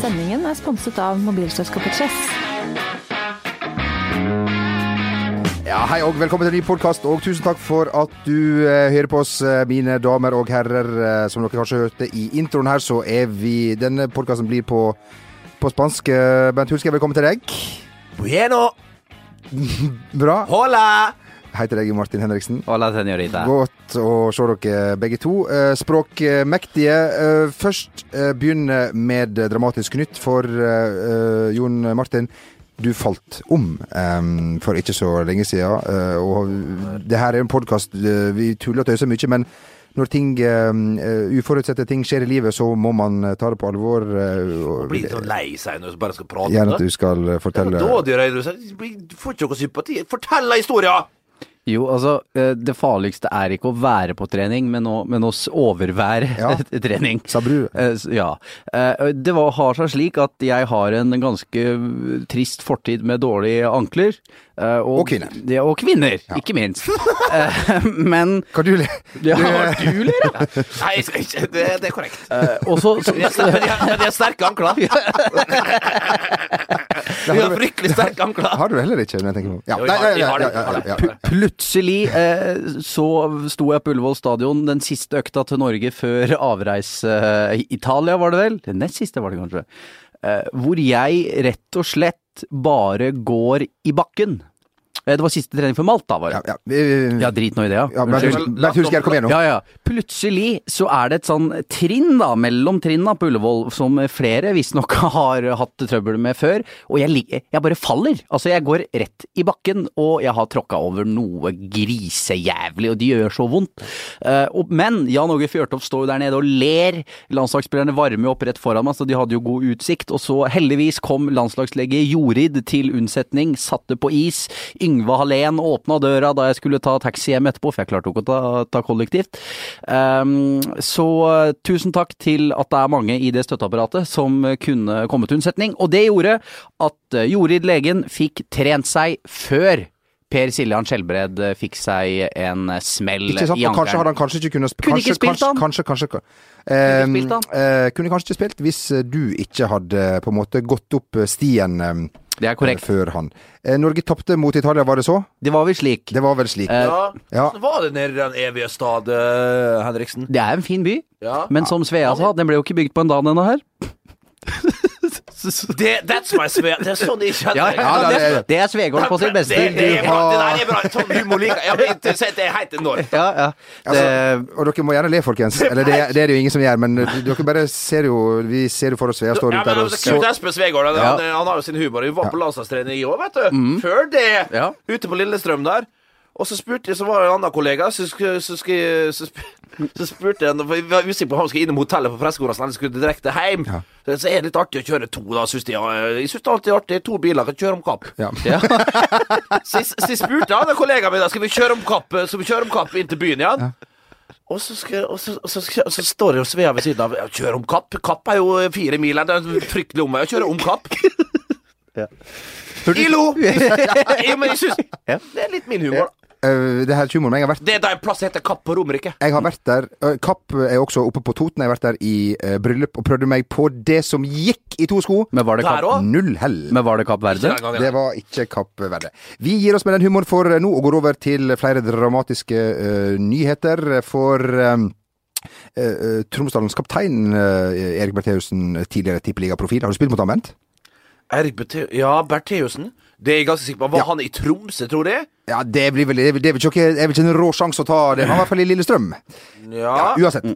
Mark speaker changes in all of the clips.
Speaker 1: Sendingen er sponset av mobilselskapet Chess.
Speaker 2: Ja, Hei og velkommen til en ny podkast, og tusen takk for at du eh, hører på oss, eh, mine damer og herrer. Eh, som dere kanskje hørte i introen her, så er vi Denne podkasten blir på, på spansk. Eh, Bent Hulske, velkommen til deg.
Speaker 3: Bueno,
Speaker 2: Bra.
Speaker 3: hola!
Speaker 2: Hei til deg, Martin Henriksen.
Speaker 3: Hola, senorita.
Speaker 2: Godt å se dere begge to. Eh, Språkmektige. Eh, Først eh, begynner med dramatisk nytt for eh, eh, Jon Martin. Du falt om eh, for ikke så lenge siden. eh, og det her er en podkast vi tuller og tøyser mye, men når ting, eh, eh, uforutsette ting skjer i livet, så må man eh, ta det på alvor. eh, og-
Speaker 3: Blir litt sånn lei seg når du bare skal prate.
Speaker 2: Gjerne at du skal eh, fortelle
Speaker 3: Da dør jeg, du får ikke noe sympati. Fortell deg historien!
Speaker 4: Jo, altså, eh, det farligste er ikke å være på trening, men å, men å s- overvære
Speaker 2: Ja.
Speaker 4: trening.
Speaker 2: Sabru.
Speaker 4: Eh, s- Ja. Eh, Det var, har seg slik at jeg har en ganske eh, trist fortid med dårlige ankler. eh,
Speaker 2: Og kvinner.
Speaker 4: Ja, og kvinner, ikke minst. Eh, Men
Speaker 2: Kan du eh, le?
Speaker 4: ja, du ler, ja.
Speaker 3: Nei, jeg skal ikke. Det, det er korrekt.
Speaker 4: Eh, Og så-
Speaker 3: Men jeg,
Speaker 4: så-
Speaker 3: men jeg, men jeg har sterke ankler. Jeg har fryktelig sterke ankler.
Speaker 2: Har du det heller ikke, når jeg tenker på ja.
Speaker 3: Jo, jeg har- jeg har det, jeg har det.
Speaker 4: Pl- Plutselig eh, så sto jeg på Ullevål stadion den siste økta til Norge før avreise eh, Italia, var det vel? Den nest siste var det kanskje. Eh, hvor jeg rett og slett bare går i bakken. Eh, det var siste trening for Malta, var
Speaker 2: Ja,
Speaker 4: det.
Speaker 2: ja. eh,
Speaker 4: Ja, drit nå i det, ja.
Speaker 2: Ja, Bernt
Speaker 4: Unnskyld.
Speaker 2: Hulsker, Bernt Hulsker, kom igjen nå.
Speaker 4: Ja, ja. Plutselig så er det et sånn trinn da, mellom trinna på Ullevål, som flere visstnok har hatt trøbbel med før, og jeg, lig- jeg bare faller. Altså, jeg går rett i bakken, og jeg har tråkka over noe grisejævlig, og det gjør så vondt. Eh, og, men Jan Åge Fjørtoft står jo der nede og ler. Landslagsspillerne varmer jo opp rett foran meg, så de hadde jo god utsikt. Og så heldigvis kom landslagslege Jorid til unnsetning, satte på is. Yngve Hallén åpna døra da jeg skulle ta taxi hjem etterpå, for jeg klarte jo ikke å ta, ta kollektivt. Ehm, så eh, tusen takk til at det er mange i det støtteapparatet som eh, kunne komme til unnsetning. Og det gjorde at eh, Jorid legen fikk trent seg før Per Siljan Skjelbred eh, fikk seg en eh, smell
Speaker 2: Ikke sant?
Speaker 4: i
Speaker 2: Og kanskje
Speaker 4: ankelen.
Speaker 2: hadde han kanskje ikke kunnet sp-
Speaker 4: Kunne ikke
Speaker 2: kanskje-
Speaker 4: spilt han.
Speaker 2: Kanskje, kanskje, kanskje.
Speaker 4: ikke spilt han.
Speaker 2: Eh, eh, kunne kanskje ikke spilt hvis eh, du ikke hadde eh, på en måte gått opp eh, stien eh,
Speaker 4: Det er korrekt.
Speaker 2: før han. Eh, Norge tapte mot Italia, var det så?
Speaker 4: Det var vel slik.
Speaker 2: Det var vel slik.
Speaker 4: Eh,
Speaker 3: Ja.
Speaker 2: Ja.
Speaker 3: Hvordan var det nede i den evige stad, eh, Henriksen?
Speaker 4: Det er en fin by,
Speaker 3: Ja.
Speaker 4: men som Svea sa, den ble jo ikke bygd på en dag denne her.
Speaker 3: Det, that's my swear. Det er sånn jeg kjenner deg.
Speaker 2: ja, det er-
Speaker 4: det, det er Svegård på sitt beste.
Speaker 3: Det, det, er bra,
Speaker 2: har-
Speaker 3: det der er bra. Sånn humor liker jeg. Ja, men det- Det er helt enormt.
Speaker 4: Ja, ja. Eh, Det,
Speaker 2: Altså, og dere må gjerne le, folkens. Eller det, det er det jo ingen som gjør, men eh, dere bare ser jo Vi ser jo for oss Svea står
Speaker 3: Ja,
Speaker 2: rundt
Speaker 3: men
Speaker 2: der og
Speaker 3: altså, Knut
Speaker 2: så
Speaker 3: Espen Svegård han, han, han har jo sin humor. Vi var på landslagstrening i år, vet du.
Speaker 2: Mm.
Speaker 3: Før det,
Speaker 4: Ja.
Speaker 3: ute på Lillestrøm der. Og så spurte jeg, så var det en annen kollega Så, sk- så, sk- så, sp- så spurte jeg for Jeg var usikker på om han skulle innom hotellet på pressekonferansen eller skulle direkte hjem. Så, så er det litt artig å kjøre to, da, syns de. Ja, Jeg syns det er alltid artig. To biler kan kjøre om kapp.
Speaker 2: ja.
Speaker 3: Så jeg, så jeg spurte han og kollegaen min da, skal vi kjøre om kapp, skal vi kjøre om kapp inn til byen igjen. Og så, skal, og, så, og, så, skal- og så står det jo Svea ved siden av. «Ja, Kjør om kapp. Kapp er jo fire mil. her, Det er en fryktelig omvei å kjøre om kapp. Ilo! Jo, men jeg syns Det er litt min humor. da.
Speaker 2: Eh, Det her er humoren, men jeg har vært
Speaker 3: Det er da en plass heter Kapp på Romerike.
Speaker 2: jeg har vært der eh, Kapp er også oppe på Toten. Jeg har vært der i eh, bryllup og prøvde meg på det som gikk i to sko.
Speaker 4: men var det
Speaker 3: Der
Speaker 4: Kapp,
Speaker 3: òg.
Speaker 2: Null hell.
Speaker 4: men var det Kapp Verde?
Speaker 2: Det var ikke Kapp Verde. Vi gir oss med den humoren for eh, nå og går over til flere dramatiske eh, nyheter. For um, Tromsdalens kaptein eh, Erik Bertheussen, tidligere tippeligaprofil, har du spilt mot ham, Bent?
Speaker 3: Ja, Bertheussen. Det er jeg ganske sikker på. Var han i Tromsø, tror jeg?
Speaker 2: Ja, det blir vel Det er vel ikke, det er vel ikke en rå sjanse å ta det. Han var i hvert fall i Lillestrøm.
Speaker 3: Ja.
Speaker 2: Uansett.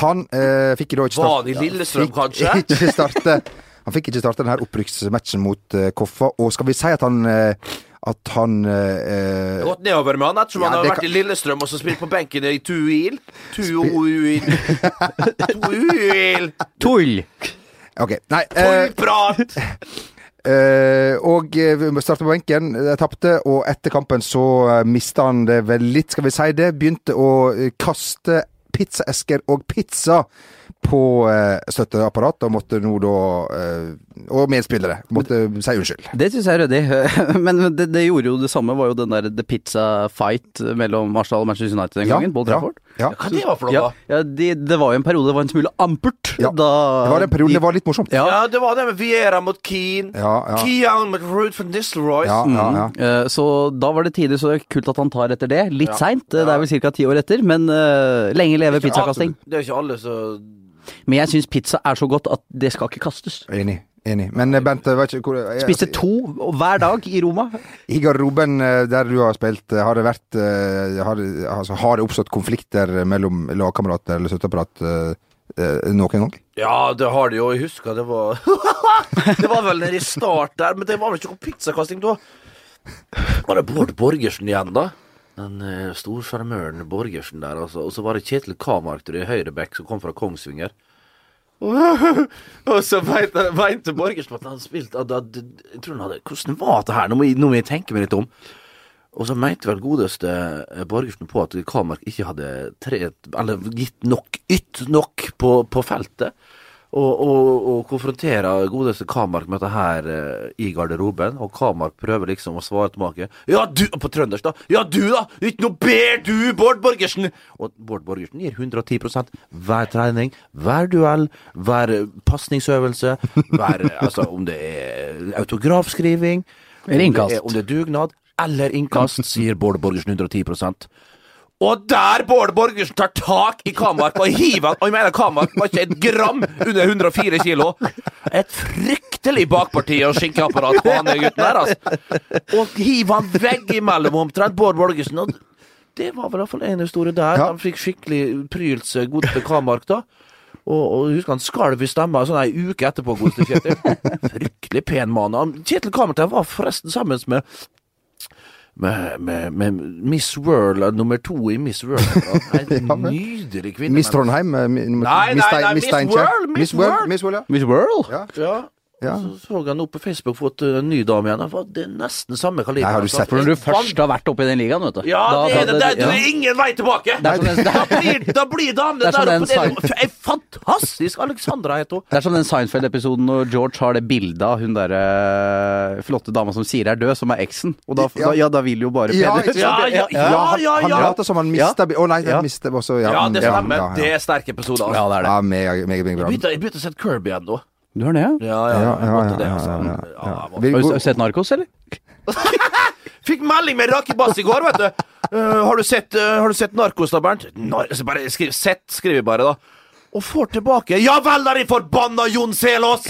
Speaker 2: Han eh, fikk da ikke
Speaker 3: Ah. Var han
Speaker 2: start...
Speaker 3: i Lillestrøm, kanskje?
Speaker 2: Fikk ikke starte Han fikk ikke starte denne opprykksmatchen mot eh, Koffa, og skal vi si at han eh, At han eh,
Speaker 3: Gått nedover med han ettersom
Speaker 2: Ja,
Speaker 3: han har
Speaker 2: det
Speaker 3: vært
Speaker 2: kan-
Speaker 3: i Lillestrøm og så spilt på benken i Tuil. Tuil Tuil
Speaker 4: Tull!
Speaker 2: OK. Nei. eh,
Speaker 3: Tullprat!
Speaker 2: Eh, og eh, vi starta på benken, eh, tapte, og etter kampen så eh, mista han det vel litt, skal vi si det. Begynte å eh, kaste pizzaesker og pizza på eh, støtteapparat, og måtte nå da eh, Og medspillere måtte si unnskyld.
Speaker 4: Det syns jeg er ryddig, men det, det gjorde jo det samme, var jo den der The Pizza Fight mellom Arsenal og Manchester United den gangen, på Old Trafford.
Speaker 2: Ja, ja.
Speaker 3: Hva det var for noe,
Speaker 4: Ja,
Speaker 3: da?
Speaker 4: ja de, det var jo en periode det var en smule ampert.
Speaker 2: Ja,
Speaker 4: Da
Speaker 2: Det var den perioden det var litt morsomt.
Speaker 4: Ja.
Speaker 3: Ja, det var det med Viera mot Keane.
Speaker 2: Ja, ja.
Speaker 3: Keane mot Ruud van Nistelrooy.
Speaker 2: Ja, ja, ja.
Speaker 4: Eh, Så da var det tidlig, så det er kult at han tar etter det. Litt
Speaker 3: Ja.
Speaker 4: seint, eh, det er vel ca. ti år etter, men eh, lenge leve pizzakasting.
Speaker 3: Det er ikke alle som
Speaker 4: Men jeg syns pizza er så godt at det skal ikke kastes.
Speaker 2: Enig. enig. Men eh, Bent, jeg vet ikke hvor jeg-
Speaker 4: Spiste to hver dag i Roma.
Speaker 2: I garderoben eh, der du har spilt, eh, har det vært eh, Har, det- altså, har det oppstått konflikter mellom lagkamerater eller støtteapparat eh, eh, noen gang?
Speaker 3: Ja, det har de jo. Jeg husker det var Det var vel nede i start der, men det var vel ikke noe pizzakasting da. Var det Bård Borgersen igjen, da? Den eh, storsjarmøren Borgersen der, altså. Og så var det Kjetil Kamark tror jeg, i høyreback som kom fra Kongsvinger. Og så meinte meinte Borgersen at han spilte at, at, Jeg tror han hadde Hvordan var det her? Nå må jeg, nå må jeg tenke meg litt om. Og så mente vel godeste eh, Borgersen på at Kalmark ikke hadde tre, eller gitt nok, ytt nok på, på feltet. Og, og, og konfronterer godeste Kalmark med dette her eh, i garderoben, og Kalmark prøver liksom å svare tilbake. Ja, du På trøndersk, da. Ja, du, da! Ikke noe ber du, Bård Borgersen! Og Bård Borgersen gir 110 hver trening, hver duell, hver eh, pasningsøvelse, hver eh, Altså, om det er autografskriving om
Speaker 4: Eller
Speaker 3: det
Speaker 4: innkast.
Speaker 3: er- Om det er dugnad eller innkast, sier Bård Borgersen 110 og der Bård Borgersen tar tak i Kamark og hiver han Og jeg mener Kamark var ikke et gram under 104 kilo. Et fryktelig bakparti og skinkeapparat på han gutten der, altså. Og hiver han veggimellom omtrent Bård Borgersen. Og det var vel i hvert fall en historie der.
Speaker 2: Ja.
Speaker 3: Han fikk skikkelig prylelse, godeste Kamark, da. Og, og jeg husker han skalv i stemma sånn ei uke etterpå, godeste Kjetil. Fryktelig pen mann. Han- Kjetil Kamark der var forresten sammen med med, med, med Miss World, eh, nummer to i Miss World. En nydelig kvinne.
Speaker 2: Miss
Speaker 3: men-
Speaker 2: Trondheim? eh, mi- nummer-
Speaker 3: Nei, nei,
Speaker 2: Miss Stein-
Speaker 3: nei,
Speaker 2: Miss
Speaker 3: Miss
Speaker 2: Steinkjer?
Speaker 3: World, Miss
Speaker 2: Miss World,
Speaker 3: World.
Speaker 2: Miss World, ja.
Speaker 4: Miss World.
Speaker 2: ja.
Speaker 3: Ja.
Speaker 2: Ja.
Speaker 3: Så så han opp på Facebook fått eh, en ny dame igjen. Han var- Det er nesten samme kaliber.
Speaker 2: Nei, har du
Speaker 3: Altså,
Speaker 2: sett
Speaker 4: For
Speaker 3: det
Speaker 4: når
Speaker 3: er
Speaker 4: du først har vært oppe i den ligaen, vet du
Speaker 3: Ja, det er det. det, er-
Speaker 4: ja.
Speaker 3: det er ingen vei tilbake!
Speaker 4: Det er som den-
Speaker 3: da blir, da blir damene
Speaker 4: Det er
Speaker 3: der
Speaker 4: som
Speaker 3: oppe
Speaker 4: den
Speaker 3: det er jo- Ei fantastisk Alexandra het hun.
Speaker 4: Det er som den Seinfeld-episoden når George har det bildet av hun derre eh, flotte dama som sier er død, som er eksen. Og da,
Speaker 2: Ja.
Speaker 4: da, ja, da vil jo bare
Speaker 2: Ja,
Speaker 4: Peder
Speaker 2: ikke sant?
Speaker 3: Ja, ja, ja,
Speaker 2: han-
Speaker 3: ja,
Speaker 2: Han
Speaker 3: ja.
Speaker 2: later som han mista Å nei,
Speaker 4: Ja.
Speaker 2: han mista også
Speaker 3: Ja, det
Speaker 2: ja,
Speaker 3: stemmer.
Speaker 2: ja, ja.
Speaker 3: Det er sterk episode. Altså.
Speaker 4: Ja, det er det.
Speaker 2: Ja, meget, meget, meget bra.
Speaker 3: Jeg begynte- Jeg begynte å se Kirby igjen nå.
Speaker 4: Du har det, ja?
Speaker 3: Ja, ja,
Speaker 2: Ja,
Speaker 3: jeg
Speaker 2: ja,
Speaker 3: måtte
Speaker 2: ja,
Speaker 3: det,
Speaker 2: ja,
Speaker 3: altså.
Speaker 2: ja,
Speaker 3: Ja,
Speaker 2: ja.
Speaker 3: jeg måtte-
Speaker 2: Vi-
Speaker 4: Har du s- sett Narkos, eller?
Speaker 3: Fikk melding med Rakibass i går, vet du. Eh, har, du sett, eh, har du sett Narkos, da, Bernt? Nar så bare skriv, sett, skriver jeg bare, da. Og får tilbake Ja vel, da, din forbanna Jon Selås!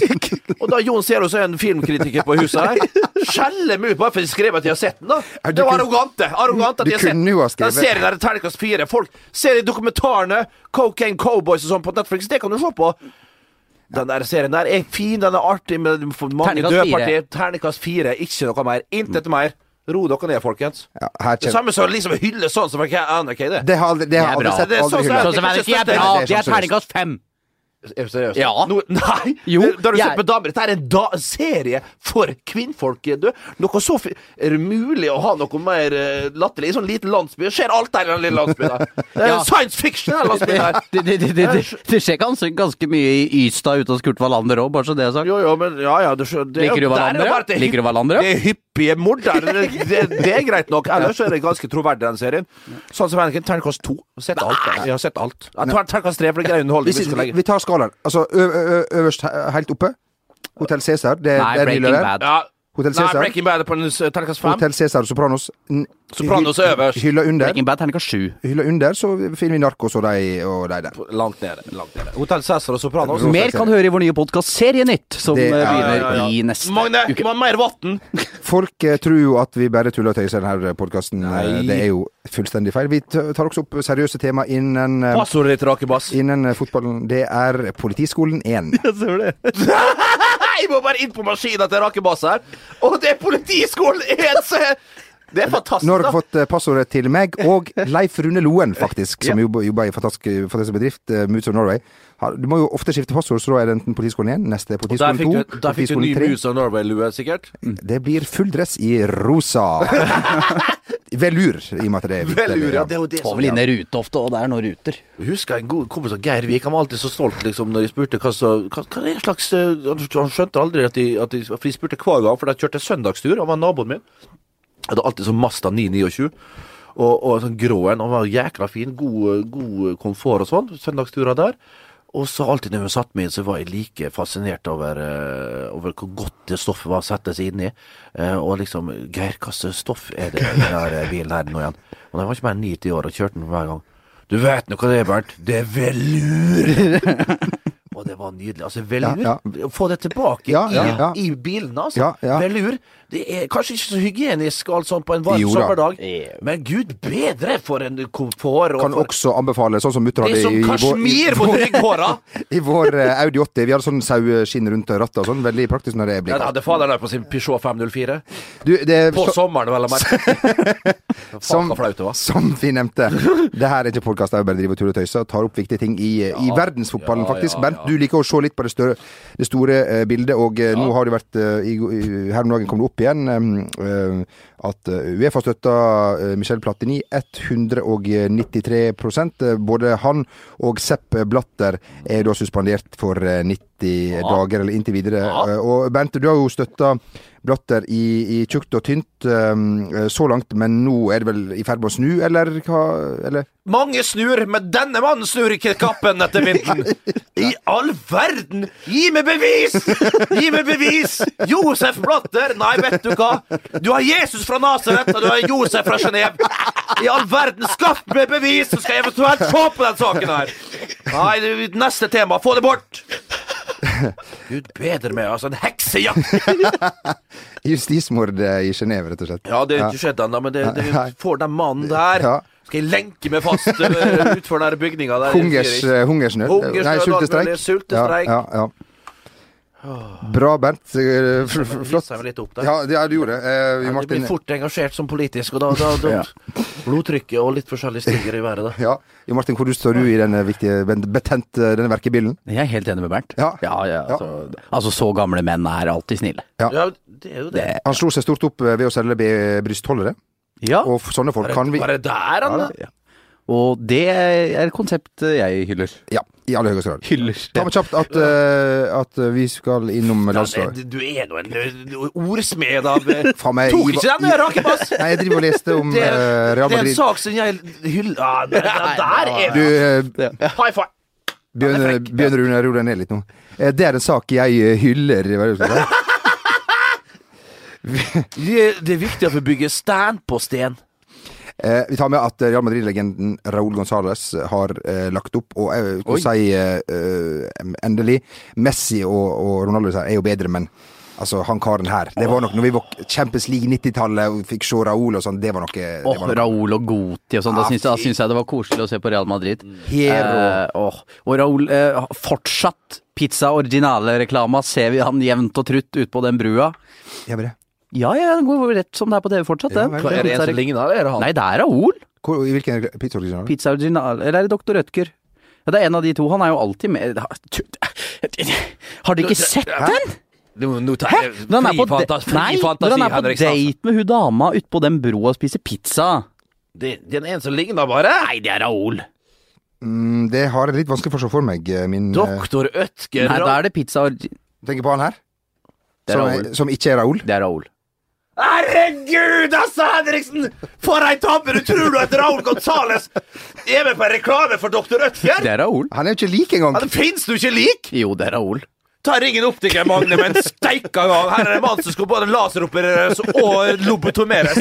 Speaker 3: Og da Jon Selås er en filmkritiker på huset her, skjeller meg ut bare for at jeg skrev at jeg har sett den, da.
Speaker 2: Ja, du
Speaker 3: Det var
Speaker 2: kunne-
Speaker 3: arrogante. arrogante at
Speaker 2: Du
Speaker 3: jeg har sett
Speaker 2: kunne jo ha skrevet-
Speaker 3: Den serien der er terningkast fire. Folk ser de dokumentarene, Cocaine Cowboys og sånn på Netflix, det kan du se på. Den der serien der er fin, den er artig, men det er mange
Speaker 4: Terningkast
Speaker 3: døde
Speaker 4: fire.
Speaker 3: partier. Terningkast fire, ikke noe mer. Intet mer. Ro dere ned, folkens.
Speaker 2: Mm. Ja, her
Speaker 3: Det
Speaker 2: kjenner
Speaker 3: samme som liksom å hylle sånn som Anarchy, det.
Speaker 2: Det har aldri, det har
Speaker 4: Det
Speaker 2: aldri
Speaker 4: er bra.
Speaker 2: sett.
Speaker 3: Det er
Speaker 2: Aldri
Speaker 3: sånn
Speaker 2: hyllet.
Speaker 3: som er-
Speaker 2: Det er
Speaker 4: fem.
Speaker 3: Er du seriøs?
Speaker 4: Ja.
Speaker 3: No, Eh, nei!
Speaker 4: Jo,
Speaker 3: det, det har du
Speaker 4: jeg-
Speaker 3: sett med damer. Dette er en da serie for kvinnfolk. Du. Noe så fi Er det mulig å ha noe mer eh, latterlig? I sånn liten landsby skjer alt der i den lille landsbyen. der. Det er
Speaker 4: Ja.
Speaker 3: Science fiction, den landsbyen her! Eh,
Speaker 4: Det, det, det, det, det, det skjer ganske, ganske mye i Ystad ute hos Kurt Wallander òg, bare så det er sagt.
Speaker 3: Jo, jo, men ja, ja, du skjønner det er jo-
Speaker 4: Liker du
Speaker 3: der er det
Speaker 4: Wallander, ja?
Speaker 3: bare det hypp-
Speaker 4: Liker du Wallander, ja?
Speaker 3: Det er hyppige mordere. Det, det, det er greit nok. Ellers er det ganske troverdig, den serien. Sånn som Henrik, terningkast to. Sett alt. Jeg har sett alt. Jeg tar Terningkast tre, for det er grei underholdning.
Speaker 2: Vi,
Speaker 3: vi skal legge.
Speaker 2: vi tar skalaen. Altså ø- ø- ø- øverst he- helt oppe. Hotell Cæsar. Det, det
Speaker 4: Nei,
Speaker 2: er
Speaker 4: Breaking
Speaker 2: hyller.
Speaker 4: Bad.
Speaker 3: Ja.
Speaker 2: Hotel
Speaker 3: Nei,
Speaker 2: Cæsar.
Speaker 3: Breaking Bad er på en s- terningkast fem.
Speaker 2: Hotell Cæsar og Sopranos. N-
Speaker 3: Sopranos er øverst.
Speaker 2: Hylla under.
Speaker 4: Breaking Bad terningkast sju.
Speaker 2: Hylla under, så finner vi Narkos og de, og de der.
Speaker 3: Langt nede. Langt nede. Hotell Cæsar og Sopranos.
Speaker 2: Rosa
Speaker 4: Mer kan du høre i vår nye podkast Serienytt, som
Speaker 2: Det-
Speaker 4: eh,
Speaker 2: ja,
Speaker 4: begynner
Speaker 3: ja, ja, ja.
Speaker 4: i neste
Speaker 3: Magne,
Speaker 4: uke.
Speaker 3: må ha mer vann!
Speaker 2: Folk eh, tror jo at vi bare tuller og tøyser i denne podkasten.
Speaker 3: Nei.
Speaker 2: Det er jo fullstendig feil. Vi t- tar også opp seriøse tema innen, eh,
Speaker 3: Passordet ditt, Rakebass.
Speaker 2: innen eh, fotballen. Det er Politiskolen 1.
Speaker 3: Jeg må bare inn på maskina til Rakebass her! Og det er politiskolen! En som er- Det er fantastisk.
Speaker 2: Nå har
Speaker 3: da.
Speaker 2: dere fått eh, passordet til meg og Leif Rune Loen, faktisk, som jobber, jobber i fantastisk, fantastisk bedrift, eh, Moods of Norway. Ha- Du må jo ofte skifte passord, så da er det enten Politiskolen 1, neste
Speaker 3: Der
Speaker 2: Politiskolen Mm, 2,
Speaker 3: fikk du, der fikk du ny
Speaker 2: Politiskolen 3.
Speaker 3: Moose of Norway-lue, sikkert.
Speaker 2: Det blir full dress i rosa. Velur, i og med at det er hvitt.
Speaker 3: Velur, ja. Det er jo det
Speaker 4: Var
Speaker 3: som
Speaker 4: vel inne i rute ofte, og det er nå ruter.
Speaker 3: Jeg husker en god kompis av Geir Vik. Han var alltid så stolt liksom, når jeg spurte hva, så, hva, hva er det slags eh, Han han skjønte aldri at de, at de For de spurte hver gang, for de kjørte søndagstur. Han var naboen min. Jeg hadde alltid sånn Mazda 929. Og, og sånn grå en. Han var jækla fin. God, god komfort og sånn. Søndagsturer der. Og så alltid når vi satt med, så var jeg like fascinert over, eh, over hvor godt det stoffet var å sette seg inn i. Eh, og liksom Geir, hva slags stoff er det i denne bilen her nå igjen? Og jeg var ikke mer enn 90 år og kjørte den hver gang. Du vet nå hva det er, Bernt. Det er velur! og det var nydelig. Altså, velur
Speaker 2: Ja,
Speaker 3: Få det tilbake
Speaker 2: Ja, ja,
Speaker 3: i,
Speaker 2: ja.
Speaker 3: i bilene, altså.
Speaker 2: Ja, ja.
Speaker 3: Velur. Det er kanskje ikke så hygienisk og alt sånt på en varm
Speaker 2: Jo da.
Speaker 3: sommerdag, men gud bedre for en komfort. og
Speaker 2: Kan
Speaker 3: for-
Speaker 2: også anbefale, sånn som mutter
Speaker 3: det
Speaker 2: hadde
Speaker 3: er som
Speaker 2: i, i,
Speaker 3: kasjmir på
Speaker 2: vår,
Speaker 3: rygghåra!
Speaker 2: i vår eh, Audi 80. Vi hadde sånn saueskinn rundt rattet og sånn. Veldig praktisk når det
Speaker 3: Den
Speaker 2: blir kaldt.
Speaker 3: hadde faderen der på sin Peugeot 504.
Speaker 2: Du, det er
Speaker 3: På sommeren, vel å merke. Faen,
Speaker 2: som,
Speaker 3: så flaut det var.
Speaker 2: som vi nevnte, det her er ikke podkast, jeg bare driver og tuller og tøyser og tar opp viktige ting i, eh, i verdensfotballen,
Speaker 3: ja,
Speaker 2: faktisk.
Speaker 3: ja, ja.
Speaker 2: Bernt, du liker å se litt på det, større, det store eh, bildet, og eh, nå har det vært eh, i, i- Her om dagen kom det opp igjen eh, eh, at eh, Uefa støtta eh, Michel Platini 193 eh, Både han og Sepp Blatter er da suspendert for eh, 90 dager, eller inntil videre. Eh, Og Bernt, du har jo støtta Blatter i, i tjukt og tynt eh, så langt, men nå er det vel i ferd med å snu, eller hva? Eller?
Speaker 3: Mange snur, men denne mannen snur ikke kappen etter vinden. I all verden! Gi meg bevis! Gi meg bevis! Josef Blatter! Nei, vet du hva? Du har Jesus fra Nasaret, og du har Josef fra Genéve. I all verden, skaff meg bevis, så skal jeg eventuelt se på den saken her. Nei, det- neste tema. Få det bort! Gud bedre meg, altså. En heksejakt!
Speaker 2: Justismord eh, i Genéve, rett og slett.
Speaker 3: Ja, det har ikke skjedd ennå, men det, det
Speaker 2: Nei.
Speaker 3: får den mannen der
Speaker 2: Ja.
Speaker 3: Skal jeg lenke meg fast eh, utfor den bygninga der?
Speaker 2: Hungers, eh, hungersnød.
Speaker 3: Hungersnød,
Speaker 2: Nei, sultestreik.
Speaker 3: alt mulig. Sultestreik.
Speaker 2: Ja, ja, ja. Bra, Bernt. Eh, f- f- Flott.
Speaker 3: Seg meg litt opp der.
Speaker 2: Ja, det, ja, du gjorde det. Eh,
Speaker 3: Du
Speaker 2: Martin,
Speaker 3: blir fort engasjert som politisk, og da, da, da Blodtrykket og litt forskjellig stiger i været, da.
Speaker 2: ja. Jo, Martin, hvor du står du i denne viktige, ben- betente denne verkebilen?
Speaker 4: Jeg er helt enig med Bernt.
Speaker 2: Ja.
Speaker 4: ja, altså, altså, så gamle menn er alltid snille.
Speaker 3: Ja, det er jo det.
Speaker 2: Han slo seg stort opp eh, ved å selge be- brystholdere,
Speaker 4: Ja,
Speaker 2: og f- sånne folk kan vi
Speaker 3: Bare der, han, da.
Speaker 4: og det er et konsept eh, jeg hyller.
Speaker 2: Ja, i aller høyeste grad.
Speaker 4: Hyller.
Speaker 2: Ta med kjapt at, eh, at eh, vi skal innom
Speaker 3: Ja,
Speaker 2: landslaget.
Speaker 3: det- Du er nå en eh, ordsmed av eh,
Speaker 2: Faen meg,
Speaker 3: Tok
Speaker 2: Ivar-
Speaker 3: ikke den med rakebass!
Speaker 2: Nei, jeg driver og leste om
Speaker 3: Det,
Speaker 2: eh,
Speaker 3: er-
Speaker 2: Real
Speaker 3: det er en
Speaker 2: Madrid.
Speaker 3: sak som jeg hyller ja, men Den der er
Speaker 2: Du, eh,
Speaker 3: High five!
Speaker 2: Bjørn,
Speaker 3: Han er frekk.
Speaker 2: Bjørn Rune, ro deg ned litt nå. Eh, Det er en sak jeg eh, hyller. Hva er det du skal si?
Speaker 3: Det det er viktig at vi bygger stand på sten.
Speaker 2: Eh, Vi tar med at eh, Real Madrid-legenden Raúl Gonzales har eh, lagt opp, og jeg vil si eh, eh, endelig Messi og, og Ronaldo er jo bedre, men altså, han karen her Det var nok når vi var Champions League 90-tallet og fikk se Raúl og sånn, det var noe, det
Speaker 4: Åh,
Speaker 2: var noe.
Speaker 4: Raúl og Goti og sånn. Da
Speaker 2: Ah,
Speaker 4: syns jeg, da
Speaker 2: fy.
Speaker 4: syns jeg det var koselig å se på Real Madrid.
Speaker 2: Hero.
Speaker 4: Eh, åh. Og Raúl eh, fortsatt pizza originale-reklama. Ser vi han jevnt og trutt ut på den brua?
Speaker 2: Ja, men det.
Speaker 4: Ja, ja, den går rett som det er på TV fortsatt, den.
Speaker 2: vel,
Speaker 3: Hva er det en som ligner, eller er det han?
Speaker 4: Nei, det er Raúl.
Speaker 2: Hvor, I hvilken pizza original?
Speaker 4: Pizza original Eller er det Dr. Rødtger? Ja, det er en av de to. Han er jo alltid med Har dere ikke sett den?
Speaker 3: Nå- nå tar
Speaker 4: Hæ?
Speaker 3: jeg
Speaker 4: Når han er
Speaker 3: fri
Speaker 4: på,
Speaker 3: fanta-
Speaker 4: de-
Speaker 3: fri
Speaker 4: nei,
Speaker 3: fantasi,
Speaker 4: når han er på
Speaker 3: Henrik Stansen.
Speaker 4: date med hun dama utpå den broa og spiser pizza.
Speaker 3: Det, det er en som ligner bare. Nei, det er Raoul.
Speaker 2: Mm, det har jeg litt vanskelig for å se for meg, eh, min eh,
Speaker 3: Doktor Ødger.
Speaker 4: Nei, da er det pizza orgi...
Speaker 2: Tenker på han her,
Speaker 4: Det er
Speaker 2: som,
Speaker 4: Raoul.
Speaker 2: som ikke er Raúl.
Speaker 4: Det er Raoul.
Speaker 3: Herregud, altså, Henriksen! For ei tabbe! Du tror du at Raoul Gonzales er med på en reklame for Doktor Ødger?
Speaker 4: Det er Raoul.
Speaker 2: Han er jo ikke lik engang!
Speaker 3: Ja, det fins du ikke lik!
Speaker 4: Jo, det er Raoul.
Speaker 3: Ta ringen optiker, Magne, med en steika gang. Her er det en mann som skal både laseropereres og lobotomeres.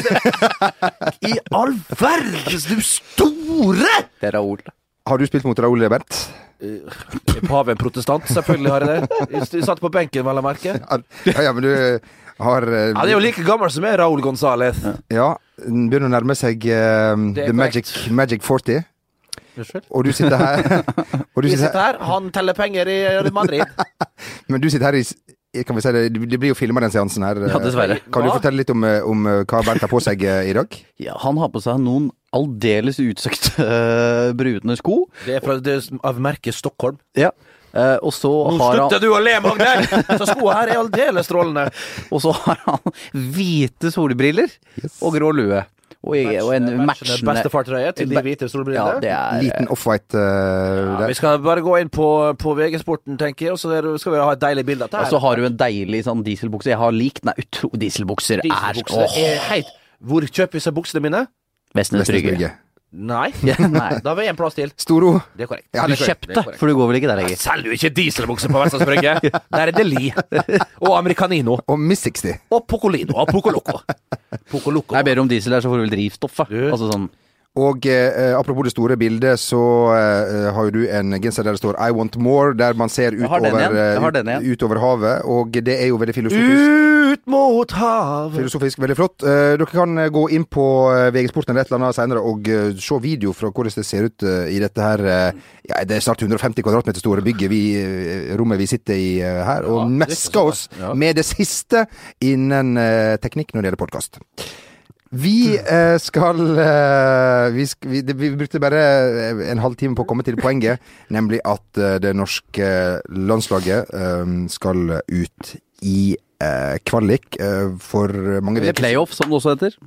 Speaker 3: I all verdens, du store!
Speaker 4: Det er Raoul.
Speaker 2: Har du spilt mot Raúl, Bernt?
Speaker 3: Paven protestant, selvfølgelig har jeg det. Jeg Satt på benken, vel å merke.
Speaker 2: Ja, ja, men du har eh,
Speaker 3: Han er jo like gammel som jeg, Raoul Gonzales.
Speaker 2: Ja, den begynner å nærme seg eh,
Speaker 3: Det er
Speaker 2: The magic,
Speaker 3: korrekt.
Speaker 2: magic 40.
Speaker 3: Unnskyld?
Speaker 2: Og du sitter her, og du
Speaker 3: Vi
Speaker 2: sitter
Speaker 3: sitter
Speaker 2: her
Speaker 3: her, han teller penger i Madrid.
Speaker 2: Men du sitter her i s- kan vi si det, det blir jo filma den seansen her. eh.
Speaker 4: Ja, dessverre.
Speaker 2: Kan du
Speaker 3: Hva?
Speaker 2: fortelle litt om, eh, om eh, hva Bernt har på seg eh, i dag?
Speaker 4: Ja, han har på seg noen aldeles utsøkte øh, brune sko.
Speaker 3: Det er fra det er av merket Stockholm.
Speaker 4: Ja. Eh, og så
Speaker 3: Nå
Speaker 4: har han
Speaker 3: slutter du å le, Magne! Så skoa her er aldeles strålende.
Speaker 4: Og så har han hvite solbriller og grå lue. Og, i- og en matchende
Speaker 3: Bestefartrøye til de hvite
Speaker 4: Ja,
Speaker 3: solbrillene.
Speaker 4: det er
Speaker 2: Liten offwhite uh,
Speaker 3: Ja,
Speaker 2: der.
Speaker 3: vi skal bare gå inn på, på VG-sporten, tenker jeg, og så er det- skal vi ha et deilig bilde av dette.
Speaker 4: Og så har du en deilig sånn dieselbukse. Jeg har likt Nei, utro dieselbukser,
Speaker 3: Dieselbukser
Speaker 4: er
Speaker 3: er heit. Hvor kjøper vi seg buksene mine?
Speaker 4: Åh, Vestnes
Speaker 2: Vestnes
Speaker 4: Brygge.
Speaker 2: Brygge.
Speaker 3: Nei.
Speaker 4: Nei.
Speaker 3: Da har vi en plass til.
Speaker 2: Storo.
Speaker 3: Det er korrekt.
Speaker 2: Ja,
Speaker 4: Du
Speaker 2: det er
Speaker 4: kjøpte, for du går vel ikke der lenger?
Speaker 3: Selger jo ikke dieselbukser på Vestlands Brygge. Der er det Li. Og Americanino.
Speaker 2: Og Miss 60.
Speaker 3: Og Pocolino. Og Pocoloco. Pocoloco.
Speaker 4: Jeg ber om diesel her, så får du vel drivstoff, da.
Speaker 3: Du.
Speaker 4: Altså sånn
Speaker 2: Og eh, apropos det store bildet, så eh, har jo du en genser der det står I want more, der man ser
Speaker 4: har den
Speaker 2: utover,
Speaker 4: igjen. Jeg har
Speaker 2: eh,
Speaker 4: den
Speaker 2: ut,
Speaker 4: igjen.
Speaker 2: utover havet. Og det er jo veldig filosofisk.
Speaker 3: Ut mot havet.
Speaker 2: Filosofisk, veldig flott. Eh, dere kan eh, gå inn på eh, VG Sporten eller et eller annet senere og eh, se video fra hvordan det ser ut eh, i dette her eh, ja, Det er snart 150 kvadratmeter store bygget, vi, eh, rommet vi sitter i eh, her, og mesker oss med det siste innen eh, teknikk når det gjelder podkast. Vi eh, skal eh, vi, sk vi, det, vi brukte bare eh, en halvtime på å komme til poenget, nemlig at eh, det norske landslaget eh, skal ut i eh, kvalik eh, for mange
Speaker 4: Eller
Speaker 2: uker
Speaker 4: playoff, som det også heter.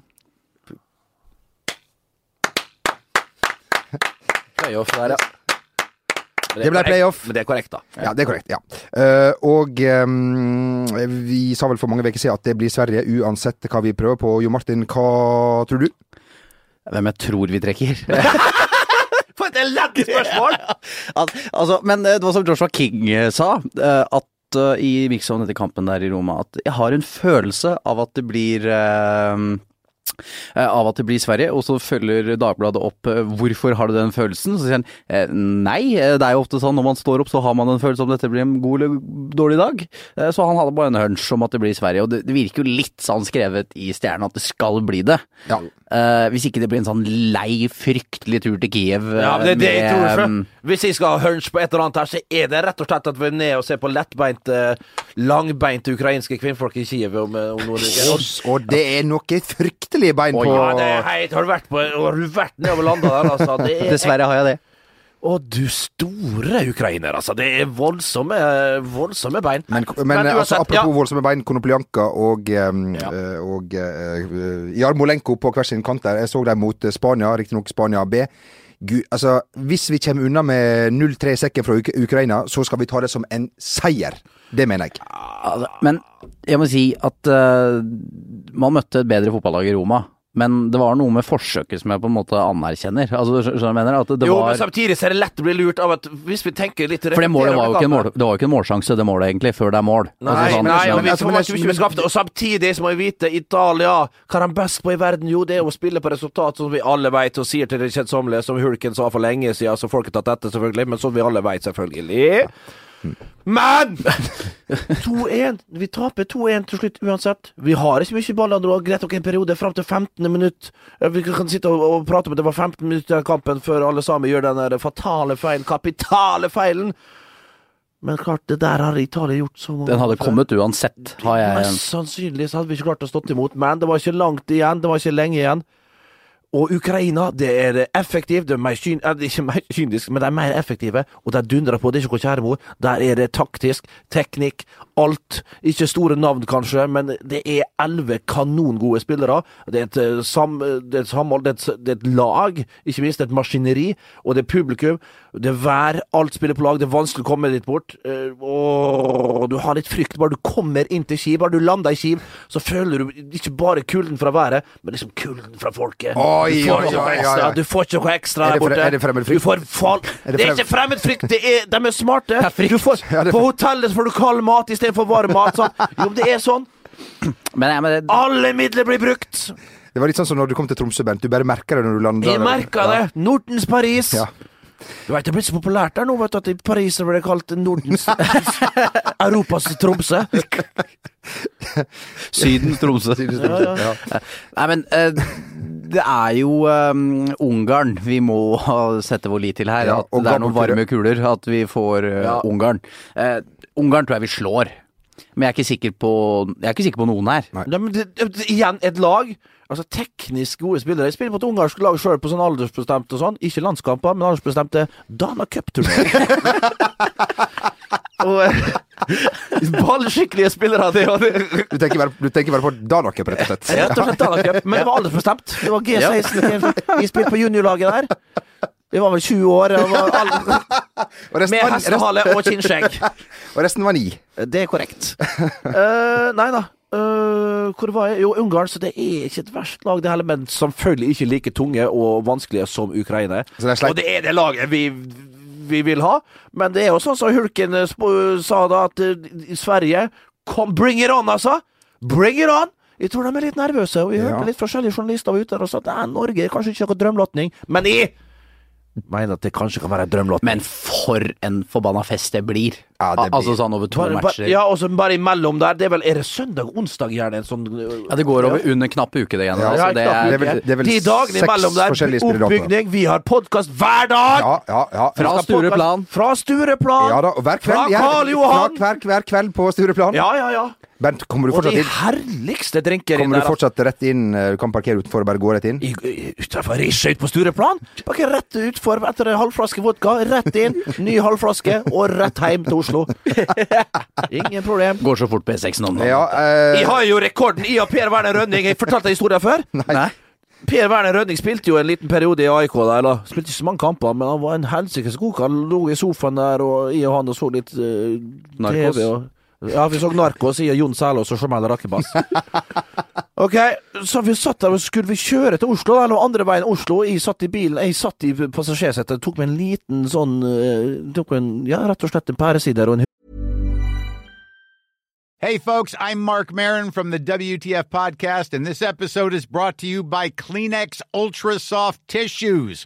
Speaker 3: Playoff der, ja. Men
Speaker 2: Det ble
Speaker 3: er korrekt.
Speaker 2: playoff.
Speaker 3: Men det er korrekt, da.
Speaker 2: Ja, det er korrekt. ja. Eh, og eh, vi sa vel for mange uker siden at det blir Sverige uansett hva vi prøver på. Jo Martin, hva tror du?
Speaker 4: Hvem jeg tror vi trekker.
Speaker 3: For et elendig spørsmål!
Speaker 4: Al- altså, men eh, det var som Joshua King eh, sa, eh, at eh, i mixzone etter kampen der i Roma, at jeg har en følelse av at det blir eh, eh, av at det blir Sverige, og så følger Dagbladet opp eh, hvorfor har du den følelsen. Så sier han eh, nei, eh, det er jo ofte sånn når man står opp så har man en følelse om dette blir en god eller dårlig dag. Eh, Så han hadde bare en hunch om at det blir Sverige, og det, det virker jo litt sånn skrevet i Stjerna at det skal bli det.
Speaker 2: Ja.
Speaker 4: Eh, hvis ikke det blir en sånn lei, fryktelig tur til Kiev. eh,
Speaker 3: Ja, men det er det jeg
Speaker 4: med,
Speaker 3: tror.
Speaker 4: eh,
Speaker 3: For. Hvis jeg skal ha hunch på et eller annet her, så er det rett og slett at vi er ned og ser på lettbeint, eh, langbeint ukrainske kvinnfolk i Kiev om, eh, om noen uker. Og-
Speaker 2: Og det er noe fryktelig bein på
Speaker 3: Ja, det er heit. Har du vært, på, har du vært nedover landa der, altså? Det er,
Speaker 4: Dessverre har jeg det.
Speaker 3: Å, du store ukrainer, altså. Det er voldsomme, voldsomme bein.
Speaker 2: Men, men, altså,
Speaker 3: uansett,
Speaker 2: apropos voldsomme bein, Konoplyanka og, um, eh, og eh, Jarmolenko på hver sin kant der. Jeg så dem mot eh, Spania, riktignok Spania B. Gud, altså, hvis vi kommer unna med 0-3 i sekken fra Uk Ukraina, så skal vi ta det som en seier. Det mener jeg.
Speaker 4: altså, Men jeg må si at eh, man møtte et bedre fotballag i Roma. Men det var noe med forsøket som jeg på en måte anerkjenner. Altså, skjø- skjønner du hva jeg mener? At det
Speaker 3: jo, men
Speaker 4: var,
Speaker 3: samtidig så er det lett å bli lurt av at hvis vi tenker litt
Speaker 4: for det målet var jo ikke en, mål, det var jo ikke en målsjanse, det målet, egentlig, før det er mål.
Speaker 3: Nei,
Speaker 4: Altså, sånn,
Speaker 3: nei,
Speaker 4: skjønner
Speaker 3: men
Speaker 4: du?
Speaker 3: vi
Speaker 2: Altså, men
Speaker 3: kommer
Speaker 2: jeg-
Speaker 3: ikke vi skal skaffe det. Og samtidig så må vi vite Italia Hva er de best på i verden? Jo, det er å spille på resultat, som vi alle vet, og sier til det kjedsommelige, som Hulken sa for lenge siden, så folk har tatt etter, selvfølgelig, men som vi alle vet, selvfølgelig. Men 2-1. Vi taper 2-1 til slutt uansett. Vi har ikke mye baller. Det var greit nok en periode fram til 15. minutt. Eh, Vi kan sitte og, og prate om at det var 15 minutter i den kampen før alle sammen gjør den der fatale feilen, kapitale feilen. Men klart, det der har Italia gjort så mange
Speaker 4: Den hadde
Speaker 3: ganger før.
Speaker 4: kommet uansett, har jeg en
Speaker 3: Mest sannsynlig så hadde vi ikke klart å stått imot, men det var ikke langt igjen. Det var ikke lenge igjen. Og Ukraina det er effektivt, det er mer kyn, eh, det er ikke mer kynisk, men de er mer effektive. Og de dundrer på. Det er ikke noe kjæremor. Der er det taktisk, teknikk, alt. Ikke store navn, kanskje, men det er elleve kanongode spillere. Det er et, eh, sam, eh, det er et samhold, det er et, det er et lag, ikke minst. Det er et maskineri. Og det er publikum. Det er vær. Alt spiller på lag. Det er vanskelig å komme litt bort. Eh, Åh, du har litt frykt. Bare du kommer inn til Kiev, bare du lander i Kiev, så føler du ikke bare kulden fra været, men liksom kulden fra folket.
Speaker 2: Oi,
Speaker 3: Du får
Speaker 2: oi,
Speaker 3: ikke noe
Speaker 2: oi, oi,
Speaker 3: ekstra,
Speaker 2: oi.
Speaker 3: Du får ikke noe ekstra
Speaker 2: Er
Speaker 3: der
Speaker 2: det fre-
Speaker 3: borte.
Speaker 2: er det fremmed frykt?
Speaker 3: Du får fall...
Speaker 2: Er det
Speaker 3: det er
Speaker 2: frem-
Speaker 3: ikke fremmed frykt, det er, de er smarte.
Speaker 4: er frykt.
Speaker 3: Du får,
Speaker 2: Ja, det er
Speaker 3: På
Speaker 2: frykt.
Speaker 3: hotellet så får du kald mat istedenfor varm mat. Sånn. Jo, men det er sånn.
Speaker 4: Men, ja, men det,
Speaker 3: Alle midler blir brukt.
Speaker 2: Det var litt sånn som når du kom til Tromsø, Bent. Du bare merker det når du lander.
Speaker 3: Jeg merka det. Nordens Paris.
Speaker 2: Ja.
Speaker 3: Du vet, Det er blitt så populært der nå vet du, at i Paris så blir det kalt Nordens Europas Tromsø.
Speaker 4: Sydens Tromsø.
Speaker 3: Ja, ja.
Speaker 4: Nei, men eh, det er jo eh, Ungarn vi må ha- sette vår lit til her.
Speaker 2: Ja,
Speaker 4: at
Speaker 2: og
Speaker 4: det er noen
Speaker 2: gammel
Speaker 4: varme kuler. At vi får eh,
Speaker 3: Ja.
Speaker 4: Ungarn. Eh, Ungarn tror jeg vi slår. Men jeg er ikke sikker på, jeg er ikke sikker på noen her.
Speaker 3: Nei, men det, det, det- igjen, et lag. Altså Teknisk gode spillere. Jeg spiller på et ungarsk lag sjøl, på sånn aldersbestemt og sånn. Ikke landskamper, men aldersbestemte Dana Cup-turnering. og, eh, Ballskikkelige spillere, det og det.
Speaker 2: Du tenker bare, du tenker bare på Danacup, rett og slett.
Speaker 3: Rett og slett Dalacup. Men det var aldersbestemt. Det var G16. Vi spilte på juniorlaget der. Vi var vel 20 år. Og var all...
Speaker 2: Og resten,
Speaker 3: Med
Speaker 2: var, resten,
Speaker 3: hestehale og kinnskjegg.
Speaker 2: og resten var ni.
Speaker 3: Det er korrekt. Eh, nei da. Eh, hvor var jeg? Jo, Ungarn. Så det er ikke et verst lag, det heller. Men selvfølgelig ikke like tunge og vanskelige som Ukraina.
Speaker 2: Så det er sleit.
Speaker 3: Og det er det laget vi, vi vil ha. Men det er jo sånn som Hulken eh, sp- sa da, at eh, i Sverige Kom, bring it on, altså! Bring it on! Jeg tror de er litt nervøse. Og vi
Speaker 2: Ja.
Speaker 3: hørte litt forskjellige journalister var ute der og sa at "Nei, Norge er kanskje ikke noe drømlotning. Men jeg mener at det kanskje kan være en drømlotning.
Speaker 4: Men for en forbanna fest det blir.
Speaker 2: Ja, det blir-
Speaker 4: Altså sånn over to
Speaker 3: Bare,
Speaker 4: matcher.
Speaker 3: bare, ja, og så bare imellom der. Det er vel Er det søndag onsdag gjerne en sånn
Speaker 4: Ja, det går over under knapp uke, det greiene
Speaker 2: Ja,
Speaker 4: der. så
Speaker 3: ja,
Speaker 4: det
Speaker 3: knapt.
Speaker 2: Det er
Speaker 4: er
Speaker 2: vel, det er vel
Speaker 3: De dagene imellom
Speaker 2: seks
Speaker 3: der.
Speaker 2: forskjellige spilledatoer.
Speaker 3: Oppbygning. Vi har podkast hver dag!
Speaker 2: Ja, ja, ja.
Speaker 4: Fra
Speaker 3: Vi skal
Speaker 4: Stureplan.
Speaker 3: podcast Fra Stureplan!
Speaker 2: Ja da, og hver
Speaker 3: Fra
Speaker 2: kveld, ja,
Speaker 3: Karl Johan!
Speaker 2: Fra hver, hver kveld på Stureplan.
Speaker 3: Ja, ja, ja.
Speaker 2: Bernt, kommer du
Speaker 3: Og de
Speaker 2: fortsatt inn?
Speaker 3: herligste drinker inn
Speaker 2: Kommer
Speaker 3: der.
Speaker 2: du
Speaker 3: altså.
Speaker 2: fortsatt rett inn? eh, Du kan parkere utenfor og bare gå rett inn?
Speaker 3: I- i- Utenfor Risja ut på Stureplan. Pakke rett utfor etter en halvflaske vodka. Rett inn, ny halvflaske, og rett hjem til Oslo. Ingen problem.
Speaker 4: Går så fort på E6 nå. nå.
Speaker 2: Ja,
Speaker 3: Jeg
Speaker 2: eh,
Speaker 3: har jo rekorden i og Per Werner Rønning. Jeg fortalte historien før.
Speaker 4: Nei.
Speaker 3: Per Werner Rønning spilte jo en liten periode i AIK der, eller spilte ikke så mange kamper, men han var en helsikes god kar. Han Lå i sofaen der, og jeg og han og så litt eh,
Speaker 4: Narkos.
Speaker 3: TV. Og, ja, vi så Narkos, jeg og Jon Selås og Jamal Rakebass. ok, så vi satt der, og skulle vi kjøre til Oslo, da, eller andre veien Oslo? Jeg satt i bilen, jeg satt i passasjersetet, tok meg en liten sånn eh, Tok meg en, ja, rett og slett en pæresider og en
Speaker 5: Hey, folks, I'm Mark Marin from the WTF Podcast, and this episode is brought to you by Kleenex Ultra Soft Tissues,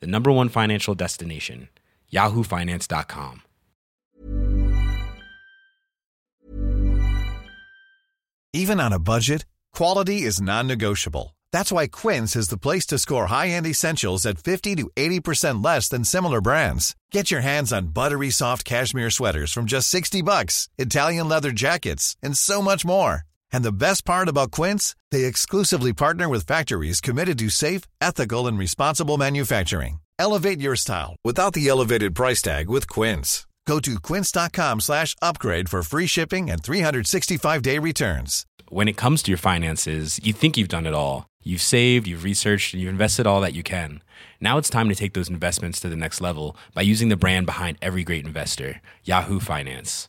Speaker 6: the number one financial destination, yahoofinance.com.
Speaker 7: Even on a budget, quality is non-negotiable. That's why Quince is the place to score high-end essentials at 50 to 80% less than similar brands. Get your hands on buttery soft cashmere sweaters from just 60 bucks, Italian leather jackets, and so much more. And the best part about Quince, they exclusively partner with factories committed to safe, ethical, and responsible manufacturing. Elevate your style without the elevated price tag with Quince. Go to quince.com slash upgrade for free shipping and 365-day returns.
Speaker 6: When it comes to your finances, you think you've done it all. You've saved, you've researched, and you've invested all that you can. Now it's time to take those investments to the next level by using the brand behind every great investor, Yahoo Finance.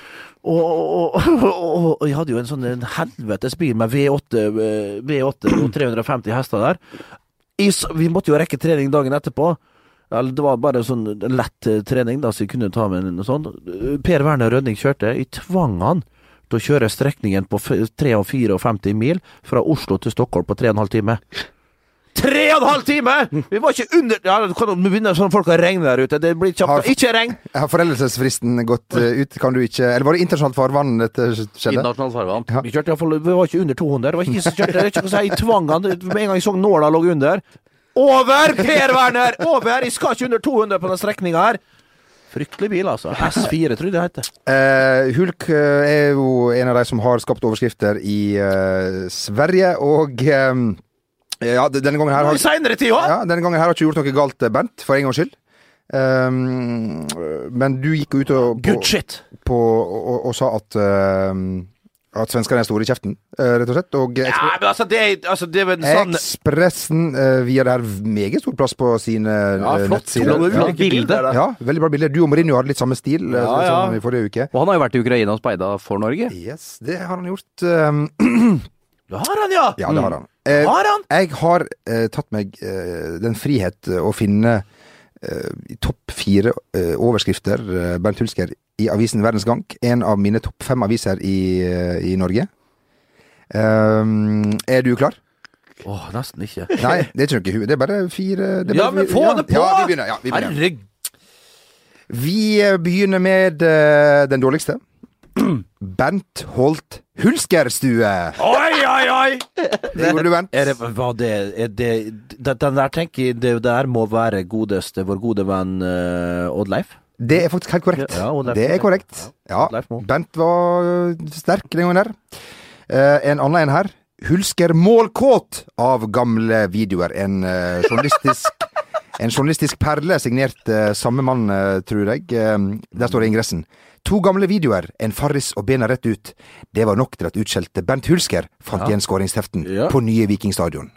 Speaker 3: Og, og, og, og, og jeg hadde jo en sånn en helvetes bil med V8, eh, V8 og 350 hester der. I, s- vi måtte jo rekke trening dagen etterpå. Eller det var bare sånn lett eh, trening, da, så jeg kunne ta med en sånn. Per Werner Rønning kjørte. Jeg tvang han til å kjøre strekningen på f- 3 og 54 mil fra Oslo til Stockholm på 3 12 timer. Tre og en halv time! Vi var ikke under ja, Du kan jo begynne sånn folk har regn der ute. Det blir
Speaker 2: Har-
Speaker 3: kjapt. Ikke regn!
Speaker 2: har foreldelsesfristen gått eh, ut? Kan du ikke Eller var det internasjonalt farvann dette skjedde?
Speaker 4: Internasjonalt farvann.
Speaker 2: Ja.
Speaker 3: Vi kjørte i hvert fall, vi var ikke under 200. Det var ikke jeg som kjørte, det er ikke noe å si. Jeg tvang han. Med en gang jeg så nåla lå under. Over, Per Werner! Over! Jeg skal ikke under 200 på den strekninga her. Fryktelig bil, altså. S4, tror jeg det heter.
Speaker 2: Eh, Hulk eh, er jo en av de som har skapt overskrifter i eh, Sverige, og eh, Ja, d- denne gangen her har
Speaker 3: I seinere tid òg!
Speaker 2: ja, denne gangen her har ikke gjort noe galt, Bernt, for en gangs skyld. Ehm, men du gikk jo ut og, på,
Speaker 3: Good shit.
Speaker 2: på, og, og, og sa at ehm, At svenskene er store i kjeften, eh, rett og slett. Og
Speaker 3: Ja, men altså, det, er- altså, det er vel sånn
Speaker 2: Ekspressen uh, vier det her meget stor plass på sine
Speaker 3: Ja,
Speaker 2: eh,
Speaker 3: flott.
Speaker 2: nettsider.
Speaker 4: Flott,
Speaker 2: Ja.
Speaker 4: flott. bilde.
Speaker 3: da.
Speaker 2: Ja, veldig bra bilder. Du og Mourinho hadde litt samme stil eh,
Speaker 3: Ja, ja.
Speaker 2: som i forrige uke.
Speaker 4: Og han har jo vært i Ukraina og speida for Norge.
Speaker 2: Yes, det har han gjort. ehm,
Speaker 3: Da har han, ja! Mm.
Speaker 2: ja, det har han. Eh,
Speaker 3: Har han?
Speaker 2: jeg har eh, tatt meg eh, den frihet å finne eh, i topp fire eh, overskrifter, eh, Bernt Hulsker, i avisen Verdens Gang. En av mine topp fem aviser i, eh, i Norge. Ehm, er du klar? Eh,
Speaker 3: Åh, nesten ikke.
Speaker 2: Nei, det er ikke noe hu. Det er bare fire det er
Speaker 3: Ja,
Speaker 2: bare
Speaker 3: men
Speaker 2: fire-
Speaker 3: få
Speaker 2: ja,
Speaker 3: det på!
Speaker 2: Ja, vi begynner. Ja, vi, begynner.
Speaker 3: Herregud.
Speaker 2: vi eh, begynner med eh, den dårligste. Bernt Holt Hulskerstue.
Speaker 3: Oi, oi, oi!
Speaker 2: Det gjorde du, Bernt.
Speaker 8: Er det, hva det, er det, den den der tenker jeg, det der må være godeste, vår gode venn eh, Oddleif.
Speaker 2: Det er faktisk helt korrekt.
Speaker 8: Ja, Odd Leif
Speaker 2: det er
Speaker 8: Moe.
Speaker 2: korrekt. Ja,
Speaker 8: Odd Leif Moe.
Speaker 2: Bent var ø, sterk den gangen her. Eh, en annen en her. Hulsker målkåt av gamle videoer. En eh, journalistisk En journalistisk perle signert eh, samme mann, eh, tror jeg. Eh, der står det i ingressen. To gamle videoer, en farris og bena rett ut. Det var nok til at utskjelte Bent Hulsker fant igjen skåringsteften
Speaker 8: Ja.
Speaker 2: på nye Vikingstadion.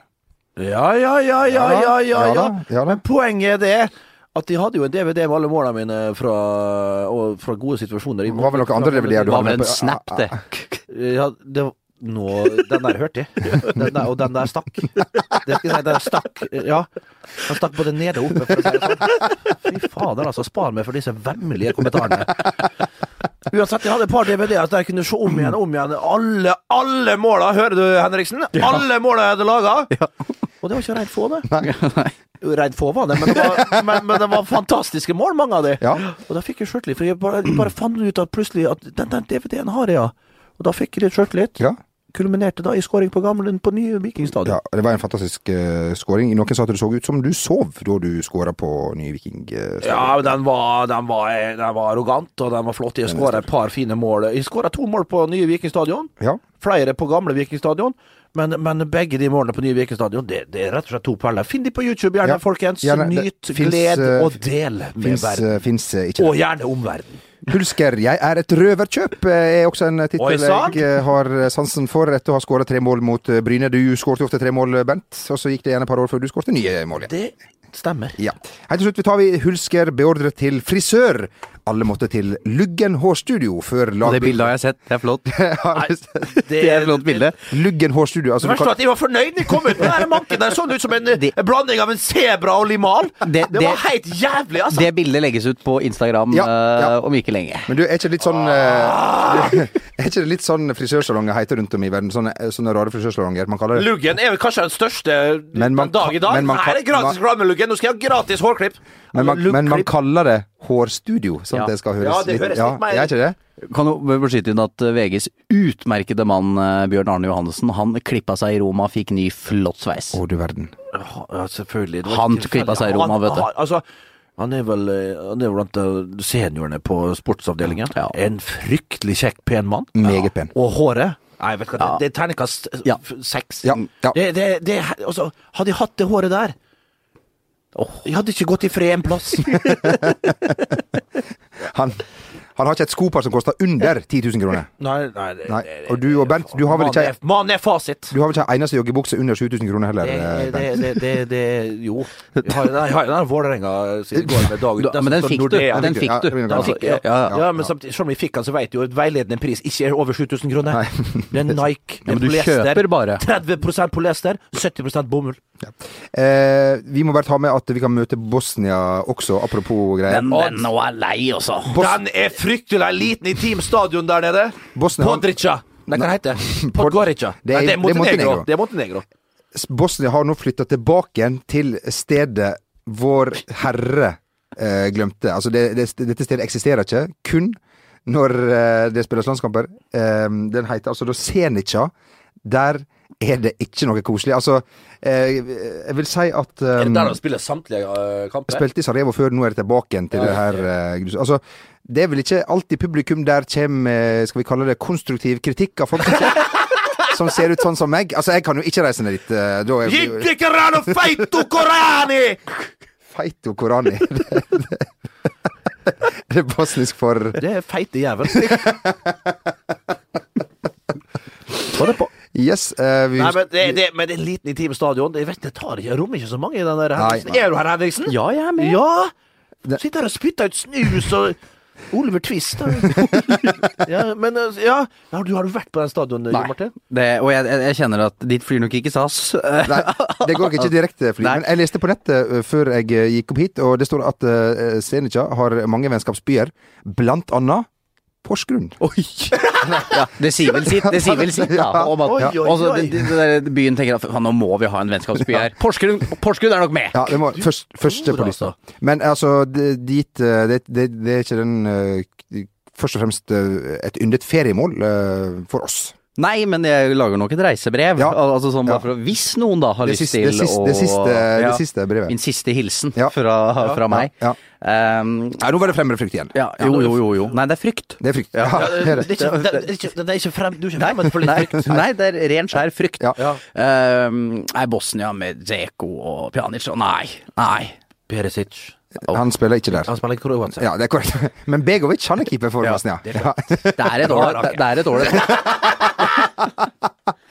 Speaker 8: Ja, ja, ja, ja, ja, ja, ja,
Speaker 2: ja da, ja da.
Speaker 8: Men poenget er det at de hadde jo en DVD med alle målene mine fra, og fra gode situasjoner.
Speaker 2: Det var vel noen andre DVD-er du
Speaker 4: Det var vel en
Speaker 2: på-
Speaker 4: snap, det.
Speaker 8: Ja, det var nå, den der hørte jeg. Den der, og den der stakk. Det skal jeg si, den stakk. Ja. Den stakk både nede og oppe. For å si det sånn. Fy fader, altså. Spar meg for disse vemmelige kommentarene.
Speaker 3: Uansett, jeg hadde et par DVD-er der jeg kunne se om igjen og om igjen alle, alle måla. Hører du, Henriksen? Alle måla jeg hadde laga!
Speaker 8: Og det var ikke reint få, det.
Speaker 4: Nei.
Speaker 8: Reint få var det, men det var, men, men det var fantastiske mål, mange av de.
Speaker 2: Ja.
Speaker 8: Og da fikk jeg sjøltillit, for jeg bare, bare fant ut at plutselig at den der DVD-en har jeg, ja. Og da fikk jeg litt sjøltillit.
Speaker 2: Ja.
Speaker 8: Kulminerte da i scoring på gamlen på nye Vikingstadion.
Speaker 2: Ja, det var en fantastisk eh, scoring. Noen sa at det så ut som du sov da du skåra på ny Viking. eh, stadion.
Speaker 3: Ja, men den var, den, var, den var arrogant, og den var flott. Jeg skåra et par fine mål. Jeg skåra to mål på nye Vikingstadion.
Speaker 2: Ja.
Speaker 3: Flere på gamle Vikingstadion. Men, men begge de målene på nye Vikingstadion, det, det er rett og slett to perler. Finn de på YouTube, gjerne,
Speaker 2: Ja.
Speaker 3: folkens.
Speaker 2: Gjerne, det
Speaker 3: Nyt,
Speaker 2: finnes,
Speaker 3: gled
Speaker 2: eh,
Speaker 3: og del med
Speaker 2: Fins,
Speaker 3: verden.
Speaker 2: eh, fins eh, ikke.
Speaker 3: Og gjerne omverden.
Speaker 2: Hulsker, jeg er et røverkjøp, eh, er også en
Speaker 3: Oi,
Speaker 2: tittel
Speaker 3: sann!
Speaker 2: jeg eh, har sansen for, etter å ha skåra tre mål mot eh, Bryne. Du skårte ofte tre mål, eh, Bent, og så gikk det igjen et par år før du skårte nye mål. igjen.
Speaker 8: Det stemmer.
Speaker 2: Ja. Helt til slutt vi tar vi Hulsker beordret til frisør. Alle måtte til Luggen hårstudio før
Speaker 4: Og det bildet
Speaker 2: lagbildet
Speaker 4: har jeg sett. Det er flott.
Speaker 3: Det,
Speaker 4: Det er et flott bilde.
Speaker 2: Luggen hårstudio. Altså,
Speaker 3: Det
Speaker 2: du
Speaker 3: verste
Speaker 2: kan-
Speaker 3: var at jeg var fornøyd når jeg kom ut med den manken. Den så ut som en,
Speaker 4: Det-
Speaker 3: en blanding av en sebra og limal. Det,
Speaker 4: Det- det-
Speaker 3: var helt jævlig, altså.
Speaker 4: Det bildet legges ut på Instagram
Speaker 2: Ja,
Speaker 4: eh,
Speaker 2: ja.
Speaker 4: om ikke lenge.
Speaker 2: Men du, er ikke det litt sånn
Speaker 3: Ah.
Speaker 2: eh, Er ikke det litt sånn frisørsalonger heter rundt om i verden? Sånne, eh, sånne rare frisørsalonger man kaller det?
Speaker 3: Luggen er vel kanskje den største
Speaker 2: Men man
Speaker 3: den dag i
Speaker 2: kan-
Speaker 3: dag.
Speaker 2: men man
Speaker 3: Her er
Speaker 2: kan-
Speaker 3: gratis reklame-luggen. Nå skal jeg ha gratis hårklipp.
Speaker 2: Men man, men man
Speaker 3: Lugklipp.
Speaker 2: kaller det hårstudio, sånn at det skal høres
Speaker 3: Ja, det høres litt mer-
Speaker 2: Ja, er ikke det?
Speaker 4: Kan jo beskytte inn at eh, VGs utmerkede mann eh, Bjørn Arne Johannessen, han klippa seg i Roma, fikk ny flott sveis.
Speaker 2: Å, du verden.
Speaker 8: Ja, selvfølgelig. Det var
Speaker 4: Han
Speaker 8: ikke
Speaker 4: klippa seg i
Speaker 8: tilfeldig.
Speaker 4: Roma,
Speaker 8: Han-
Speaker 4: vet du.
Speaker 8: han- Altså, han er vel eh, han er vel blant eh, seniorene på sportsavdelingen.
Speaker 4: Ja.
Speaker 8: En fryktelig kjekk, pen mann.
Speaker 2: Meget pen.
Speaker 8: Og håret
Speaker 3: Nei, vet du hva, det, det er terningkast eh,
Speaker 4: Ja.
Speaker 3: f- seks.
Speaker 2: Ja, ja.
Speaker 8: det, det, det, altså, Hadde jeg hatt det håret der Jeg hadde ikke gått i fred en plass.
Speaker 2: Han, han har ikke et skopar som koster under 10 000 kroner.
Speaker 3: Nei, nei, det,
Speaker 2: Nei.
Speaker 3: det-
Speaker 2: Og du og Bent, du har vel
Speaker 3: Mann
Speaker 2: ikke
Speaker 3: er- Mann er fasit.
Speaker 2: Du har vel ikke ei eneste joggebukse under 7000 kroner heller,
Speaker 8: Det,
Speaker 2: eh,
Speaker 8: det,
Speaker 2: Bent?
Speaker 8: det, det, det Jo. Jeg har jeg har den der Vålerenga siden i går med dag ut.
Speaker 3: altså,
Speaker 4: Ja, men den
Speaker 8: står
Speaker 4: fikk du.
Speaker 8: sånn Nordea.
Speaker 4: Den fikk du.
Speaker 2: Ja, den
Speaker 4: Altså,
Speaker 2: fikk
Speaker 4: ja,
Speaker 2: jeg.
Speaker 4: ja.
Speaker 8: Ja, men samtidig, selv om vi fikk den, så vet du jo at veiledende pris ikke er over 7000 kroner. Det er Nike, det
Speaker 4: Ja, men
Speaker 8: er
Speaker 4: du
Speaker 8: polyester.
Speaker 4: kjøper bare.
Speaker 8: 30 polyester, 70 bomull.
Speaker 2: Eh, vi må bare ta med at vi kan møte Bosnia også, apropos greier.
Speaker 4: Den, den nå er lei, altså.
Speaker 3: Den er fryktelig liten i Team Stadion der nede.
Speaker 2: Bosnia-
Speaker 3: Podrica. Nei, hva heter det? Podgorica.
Speaker 2: Det
Speaker 3: Nei,
Speaker 2: er- det
Speaker 3: Det
Speaker 2: er
Speaker 3: er Montenegro.
Speaker 2: Montenegro.
Speaker 3: Det er Montenegro.
Speaker 4: Um,
Speaker 2: Bosnia har nå flytta tilbake igjen til stedet Vår Herre eh, glemte. Altså, det, det, dette stedet eksisterer ikke. Kun når eh, det spilles landskamper. Eh, den heter altså da Senica. Der er det ikke noe koselig. Altså, eh, jeg vil si at eh,
Speaker 3: Er det der de spiller samtlige eh, kamper?
Speaker 2: Spilte i Sarajevo før, nå er det tilbake igjen til det her. eh, grus- altså, det eh, er vel ikke alltid publikum der kommer med, skal vi kalle det, konstruktiv kritikk av folk som, som ser ut sånn som meg. Altså, jeg kan jo ikke reise ned dit. eh, Da er jeg jo
Speaker 9: Jiddikerano feitu korani!
Speaker 2: feit og korani. Det, det, det er bosnisk for
Speaker 3: Det er feite jævel. Var det på?
Speaker 2: Yes. eh, vi,
Speaker 9: Nei, men det, det, men
Speaker 3: Men det er en liten intim stadion. Jeg vet, det tar ikke rom ikke så mange i den der
Speaker 2: Nei,
Speaker 3: Henriksen.
Speaker 2: nei.
Speaker 3: Er du her, Henriksen?
Speaker 4: Ja, jeg er med.
Speaker 3: Ja!
Speaker 2: Det-
Speaker 3: Sitter her og spytter ut snus og Oliver Twist. da. ja, men eh, ja. ja du, Har du vært på den stadion, Jon Martin?
Speaker 4: Det, og jeg, jeg, jeg kjenner at dit flyr nok ikke SAS. Eh,
Speaker 2: Nei, det går ikke direkte fly.
Speaker 4: Nei.
Speaker 2: Men jeg leste på nettet eh, før jeg eh, gikk opp hit, og det står at eh, Zenica har mange vennskapsbyer, blant annet Porsgrunn.
Speaker 4: Oi! Ja, det sier vel sitt, det sier vel sitt da. Om at,
Speaker 3: Oi, oi, oi.
Speaker 4: Og så den- den der byen tenker at "Faen, nå må vi ha en vennskapsby her. Porsgrunn, Porsgrunn er nok med!
Speaker 2: Ja, det må, først, første på lista. Men altså, det, dit eh, det, det, det er ikke den eh, k- Først og fremst eh, et yndet feriemål eh, for oss.
Speaker 4: Nei, men jeg lager nok et reisebrev.
Speaker 2: Ja.
Speaker 4: Al- Altså sånn
Speaker 2: Ja.
Speaker 4: bare for å, Hvis noen da har
Speaker 2: Det
Speaker 4: lyst
Speaker 2: siste,
Speaker 4: til
Speaker 2: det siste,
Speaker 4: å
Speaker 2: det siste, det
Speaker 4: Ja.
Speaker 2: siste brevet.
Speaker 4: Min siste hilsen
Speaker 2: Ja.
Speaker 4: fra, fra meg.
Speaker 2: Ja.
Speaker 4: Um,
Speaker 2: Nei, nå var det fremre frykt igjen.
Speaker 4: ja, jo, jo, jo, jo. Nei, det er frykt.
Speaker 2: Det er frykt. Ja, det er det.
Speaker 3: Det er ikke, det, det er ikke, det er ikke frem, du er ikke fremmed for litt
Speaker 4: Nei,
Speaker 3: frykt.
Speaker 4: nei, det er ren, skjær frykt.
Speaker 2: Ja.
Speaker 4: Um, nei, Bosnia med Zeko og Pjanic og Nei, nei.
Speaker 3: Perisic.
Speaker 2: Han spiller ikke der.
Speaker 3: Han spiller i Kroatia.
Speaker 2: Ja, det er korrekt. Men Begovic han er keeper for Bosnia. Ja.
Speaker 4: Det er et ålreit det, det er et ålreit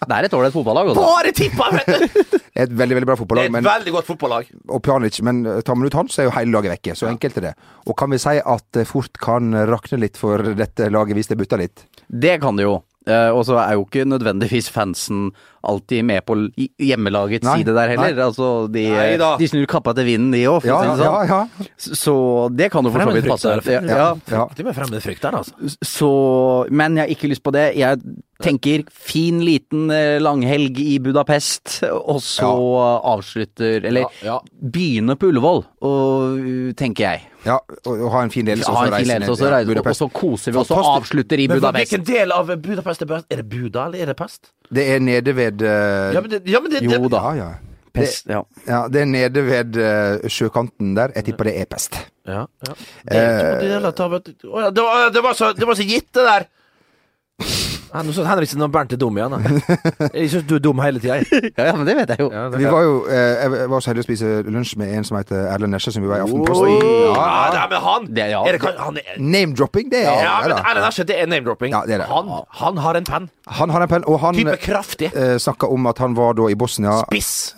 Speaker 4: Det er et ålreit fotballag, altså.
Speaker 9: bare tippa, vet du!
Speaker 2: Et veldig veldig bra
Speaker 9: Det
Speaker 2: fotballag,
Speaker 9: er et
Speaker 2: men,
Speaker 9: veldig godt fotballag.
Speaker 2: og Pjanic, men eh, tar man ut han, så er jo hele laget vekke. Så enkelt er det. Og kan vi si at det fort kan rakne litt for dette laget hvis det butter litt?
Speaker 4: Det kan det jo. Eh, og så er jo ikke nødvendigvis fansen alltid med på l- i- hjemmelagets
Speaker 2: Nei,
Speaker 4: side der heller.
Speaker 2: nei.
Speaker 4: Altså, de,
Speaker 9: Nei da.
Speaker 4: de snur kappa til vinden, de òg, for
Speaker 2: Ja,
Speaker 4: å si
Speaker 2: ja,
Speaker 4: det sånn.
Speaker 2: ja.
Speaker 4: S- Så det kan jo for så vidt passe.
Speaker 3: Fremmedfrykt der.
Speaker 4: Ja,
Speaker 2: ja.
Speaker 3: Det er med fremmed frykt der, altså.
Speaker 4: så, men jeg har ikke lyst på det. Jeg tenker fin, liten eh, langhelg i Budapest, og så avslutter Eller
Speaker 3: Ja, ja.
Speaker 4: begynner på Ullevål, og, uh, tenker jeg.
Speaker 2: ja og, og ha en fin ledelse,
Speaker 4: Ha en fin
Speaker 2: reise
Speaker 4: ledelse,
Speaker 2: ned
Speaker 4: og så
Speaker 2: til
Speaker 4: reiser vi, og
Speaker 2: Budapest.
Speaker 4: så koser vi, og så
Speaker 2: Fantastisk.
Speaker 4: avslutter i
Speaker 3: Men hva-
Speaker 4: Budapest.
Speaker 3: hvilken del av Budapest er best? Er det Buda, eller er det Pest?
Speaker 2: Det er nede ved eh,
Speaker 3: Ja, men det, ja, men det, det
Speaker 4: Jo da.
Speaker 2: Ja, ja. Det,
Speaker 4: Pest, ja.
Speaker 2: ja, det er nede ved eh, sjøkanten der. Jeg tipper det er pest.
Speaker 3: Ja, ja. Det, er to deler av et- Å ja, det, var, det, var så, det var så gitt, det der! Ja, Nå syns Henriksen og Bernt er dum igjen. da. Jeg syns du er dum hele tida.
Speaker 4: Ja, ja, men det vet jeg jo.
Speaker 2: Vi var jo, eh, jeg var så heldig å spise lunsj med en som heter Erlend Nesje, som vi var i Aftenposten.
Speaker 9: Ja, det er med han!
Speaker 4: Det- ja.
Speaker 9: Er det, kan- han er,
Speaker 2: Name-dropping, det er
Speaker 9: ja,
Speaker 2: det
Speaker 9: men
Speaker 2: da.
Speaker 9: Erlend Esje, det er name-dropping.
Speaker 2: Ja, det er det.
Speaker 9: Han, han har en penn.
Speaker 2: Han har en penn, og han
Speaker 9: Type kraftig.
Speaker 2: eh, snakka om at han var da i Bosnia
Speaker 9: Biss.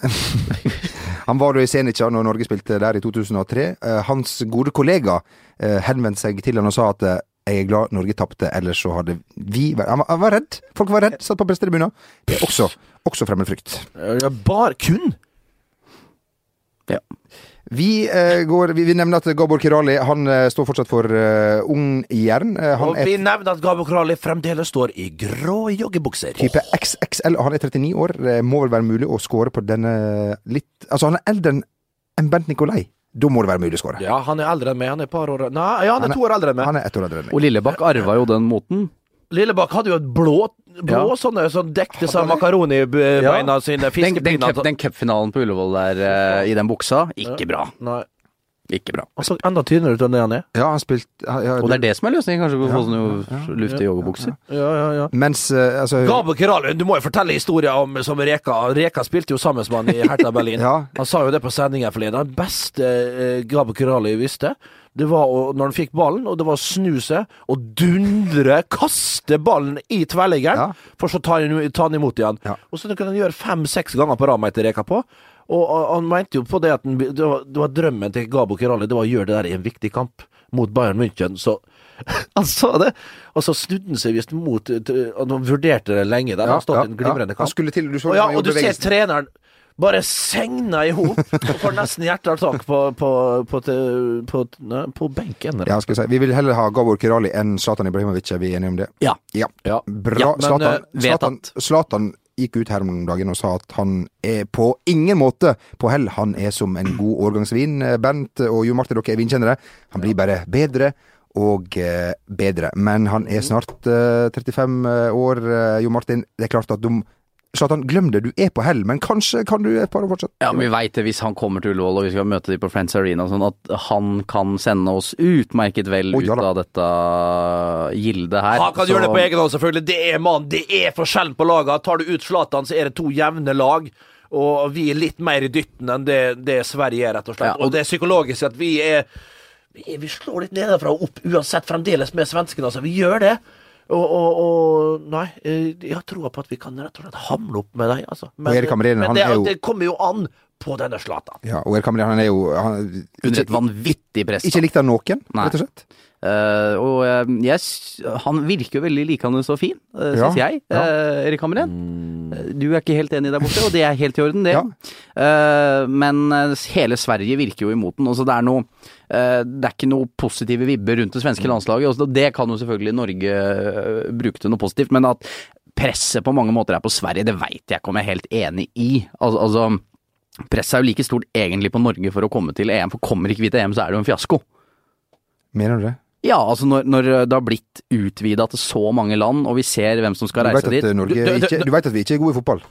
Speaker 2: Han var da i Zenica når Norge spilte der i 2003. Eh, hans gode kollega eh, henvendte seg til han og sa at eh, jeg er glad Norge tapte, ellers så hadde vi vært han, var- han var redd. Folk var redd, satt på pressetribunen. Det er også, også fremmed frykt.
Speaker 3: Ja, Bar kun?
Speaker 2: Vi, eh, går, vi, vi nevner at Gabor Kirali han eh, står fortsatt for eh, Ung Jern. Eh, han
Speaker 3: Og vi
Speaker 2: er
Speaker 3: nevner at Gabo Krali fremdeles står i grå joggebukser.
Speaker 2: type XXL, og han er 39 år. Det må vel være mulig å score på denne litt Altså, han er eldre enn Bent Nikolai. Da må det være mulig å score.
Speaker 3: Ja, han er eldre enn meg. Han er et par år Nei, ja, han
Speaker 2: Han
Speaker 3: er
Speaker 2: er-
Speaker 3: to år eldre enn meg.
Speaker 2: Han er ett år eldre enn meg.
Speaker 4: Og Lillebakk arva jo den moten.
Speaker 3: Lillebakk hadde jo et blå, blå
Speaker 4: Ja.
Speaker 3: sånne som dekte seg av makaronibeina sine.
Speaker 4: Den, den,
Speaker 3: Fiskepinner.
Speaker 4: cup- den cupfinalen på Ullevål der eh, i den buksa, ikke bra.
Speaker 3: Nei.
Speaker 4: Ikke bra.
Speaker 3: Han så enda tynnere ut enn det han er.
Speaker 2: Ja, han spilte ja, ja,
Speaker 4: Og det er det som er løsningen, kanskje, på å få sånne luftige joggebukser.
Speaker 3: Ja, ja, ja.
Speaker 2: Mens eh, altså,
Speaker 3: Gabo Kiralund, du må jo fortelle historien om som Reka. Reka spilte jo sammen med han i Hertha Berlin.
Speaker 2: Ja.
Speaker 3: Han sa jo det på sendingen forleden. Den beste eh, Gabo Kirali visste, det var å, når han fikk ballen, og det var å snu seg og dundre, kaste ballen i
Speaker 2: Ja.
Speaker 3: tverrliggeren, for så å ta den ta den imot igjen.
Speaker 2: Ja.
Speaker 3: Og så kunne han gjøre fem-seks ganger på rad, mente Reka på. Og, og han mente jo på det at den, det, var, det var drømmen til Gabo Kirali, det var å gjøre det der i en viktig kamp mot Bayern München. Så han sa det, og så snudde han seg visst mot eh, til- og Han vurderte det lenge der.
Speaker 2: Ja,
Speaker 3: han stått
Speaker 2: ja,
Speaker 3: i en glimrende
Speaker 2: ja. Han
Speaker 3: kamp.
Speaker 2: skulle til, du
Speaker 3: Og,
Speaker 2: så
Speaker 3: ja,
Speaker 2: han
Speaker 3: og du
Speaker 2: gjorde
Speaker 3: ser
Speaker 2: bevegelsen.
Speaker 3: treneren bare segna i hop og får nesten hjerteattakk på, på, på, på, på, nei, på benken.
Speaker 2: Ja, skal vi, si. vi vil heller ha Gabor Kirali enn Zlatan Ibrahimovic, er vi enige om det?
Speaker 4: Ja.
Speaker 2: Ja.
Speaker 3: Ja.
Speaker 2: Bra.
Speaker 4: Ja, men, eh,
Speaker 2: Zlatan,
Speaker 4: vet
Speaker 2: Zlatan,
Speaker 4: at-
Speaker 2: Zlatan gikk ut her om dagen og sa at han er på ingen måte på hell. Han er som en god årgangsvin. Eh, Bent og Jo Martin, dere er vinkjennere. Han blir bare bedre og eh, eh, bedre. Men han er snart eh, 35 år, eh, Jo Martin. Det er klart at de Zlatan, glem det, du er på hell, men kanskje kan du et par år fortsatt.
Speaker 4: Ja, men Vi veit det hvis han kommer til Ullevål og vi skal møte de på Friends Arena, og sånn at han kan sende oss utmerket vel
Speaker 2: Å, ja
Speaker 4: ut
Speaker 2: da.
Speaker 4: av dette gildet her.
Speaker 3: Han kan
Speaker 4: Så-
Speaker 3: gjøre det på egen hånd, selvfølgelig. Det er mann, det er forskjellen på laga. Tar du ut Zlatan, så er det to jevne lag. Og vi er litt mer i dytten enn det, det Sverige er, rett og slett.
Speaker 4: Ja, og-
Speaker 3: og, det er psykologisk at vi er Vi, er, vi slår litt nedenfra og opp uansett, fremdeles med svenskene. Altså, vi gjør det. Og, og, og Nei, eh, jeg har troa på at vi kan rett og slett hamle opp med dem, altså. Men,
Speaker 2: Og Erik Hamrin,
Speaker 3: men
Speaker 2: han
Speaker 3: det,
Speaker 2: er jo-
Speaker 3: det kommer jo an på denne Zlatan.
Speaker 2: Ja, og Erik Hamrin, han er jo han,
Speaker 4: Under et
Speaker 2: ikke,
Speaker 4: vanvittig press.
Speaker 2: ikke likt av noen,
Speaker 4: Nei.
Speaker 2: rett og slett.
Speaker 4: Eh, og eh, jeg, s- han virker jo veldig likende og fin, uh, syns
Speaker 2: Ja,
Speaker 4: jeg,
Speaker 2: ja. Mm.
Speaker 4: eh, Erik Hamren. Eh, Du er ikke helt enig der borte, og det er helt i orden, det.
Speaker 2: Ja.
Speaker 4: Eh, men eh, hele Sverige virker jo imot den. Altså, det, er noe, eh, det er ikke noe positive vibber rundt det svenske landslaget. Altså, det kan jo selvfølgelig Norge eh, bruke til noe positivt, men at presset på mange måter er på Sverige, det veit jeg ikke om jeg er helt enig i. Al altså, presset er jo like stort egentlig på Norge for å komme til EM, for kommer ikke vi til EM, så er det jo en fiasko.
Speaker 2: Mener du det?
Speaker 4: Ja, altså når, når det har blitt utvida til så mange land, og vi ser hvem som skal
Speaker 2: Du
Speaker 4: reise
Speaker 2: vet,
Speaker 4: dit
Speaker 2: at, eh, Norge,
Speaker 3: Du- du-
Speaker 2: ikke, du vet at vi ikke er gode i fotball?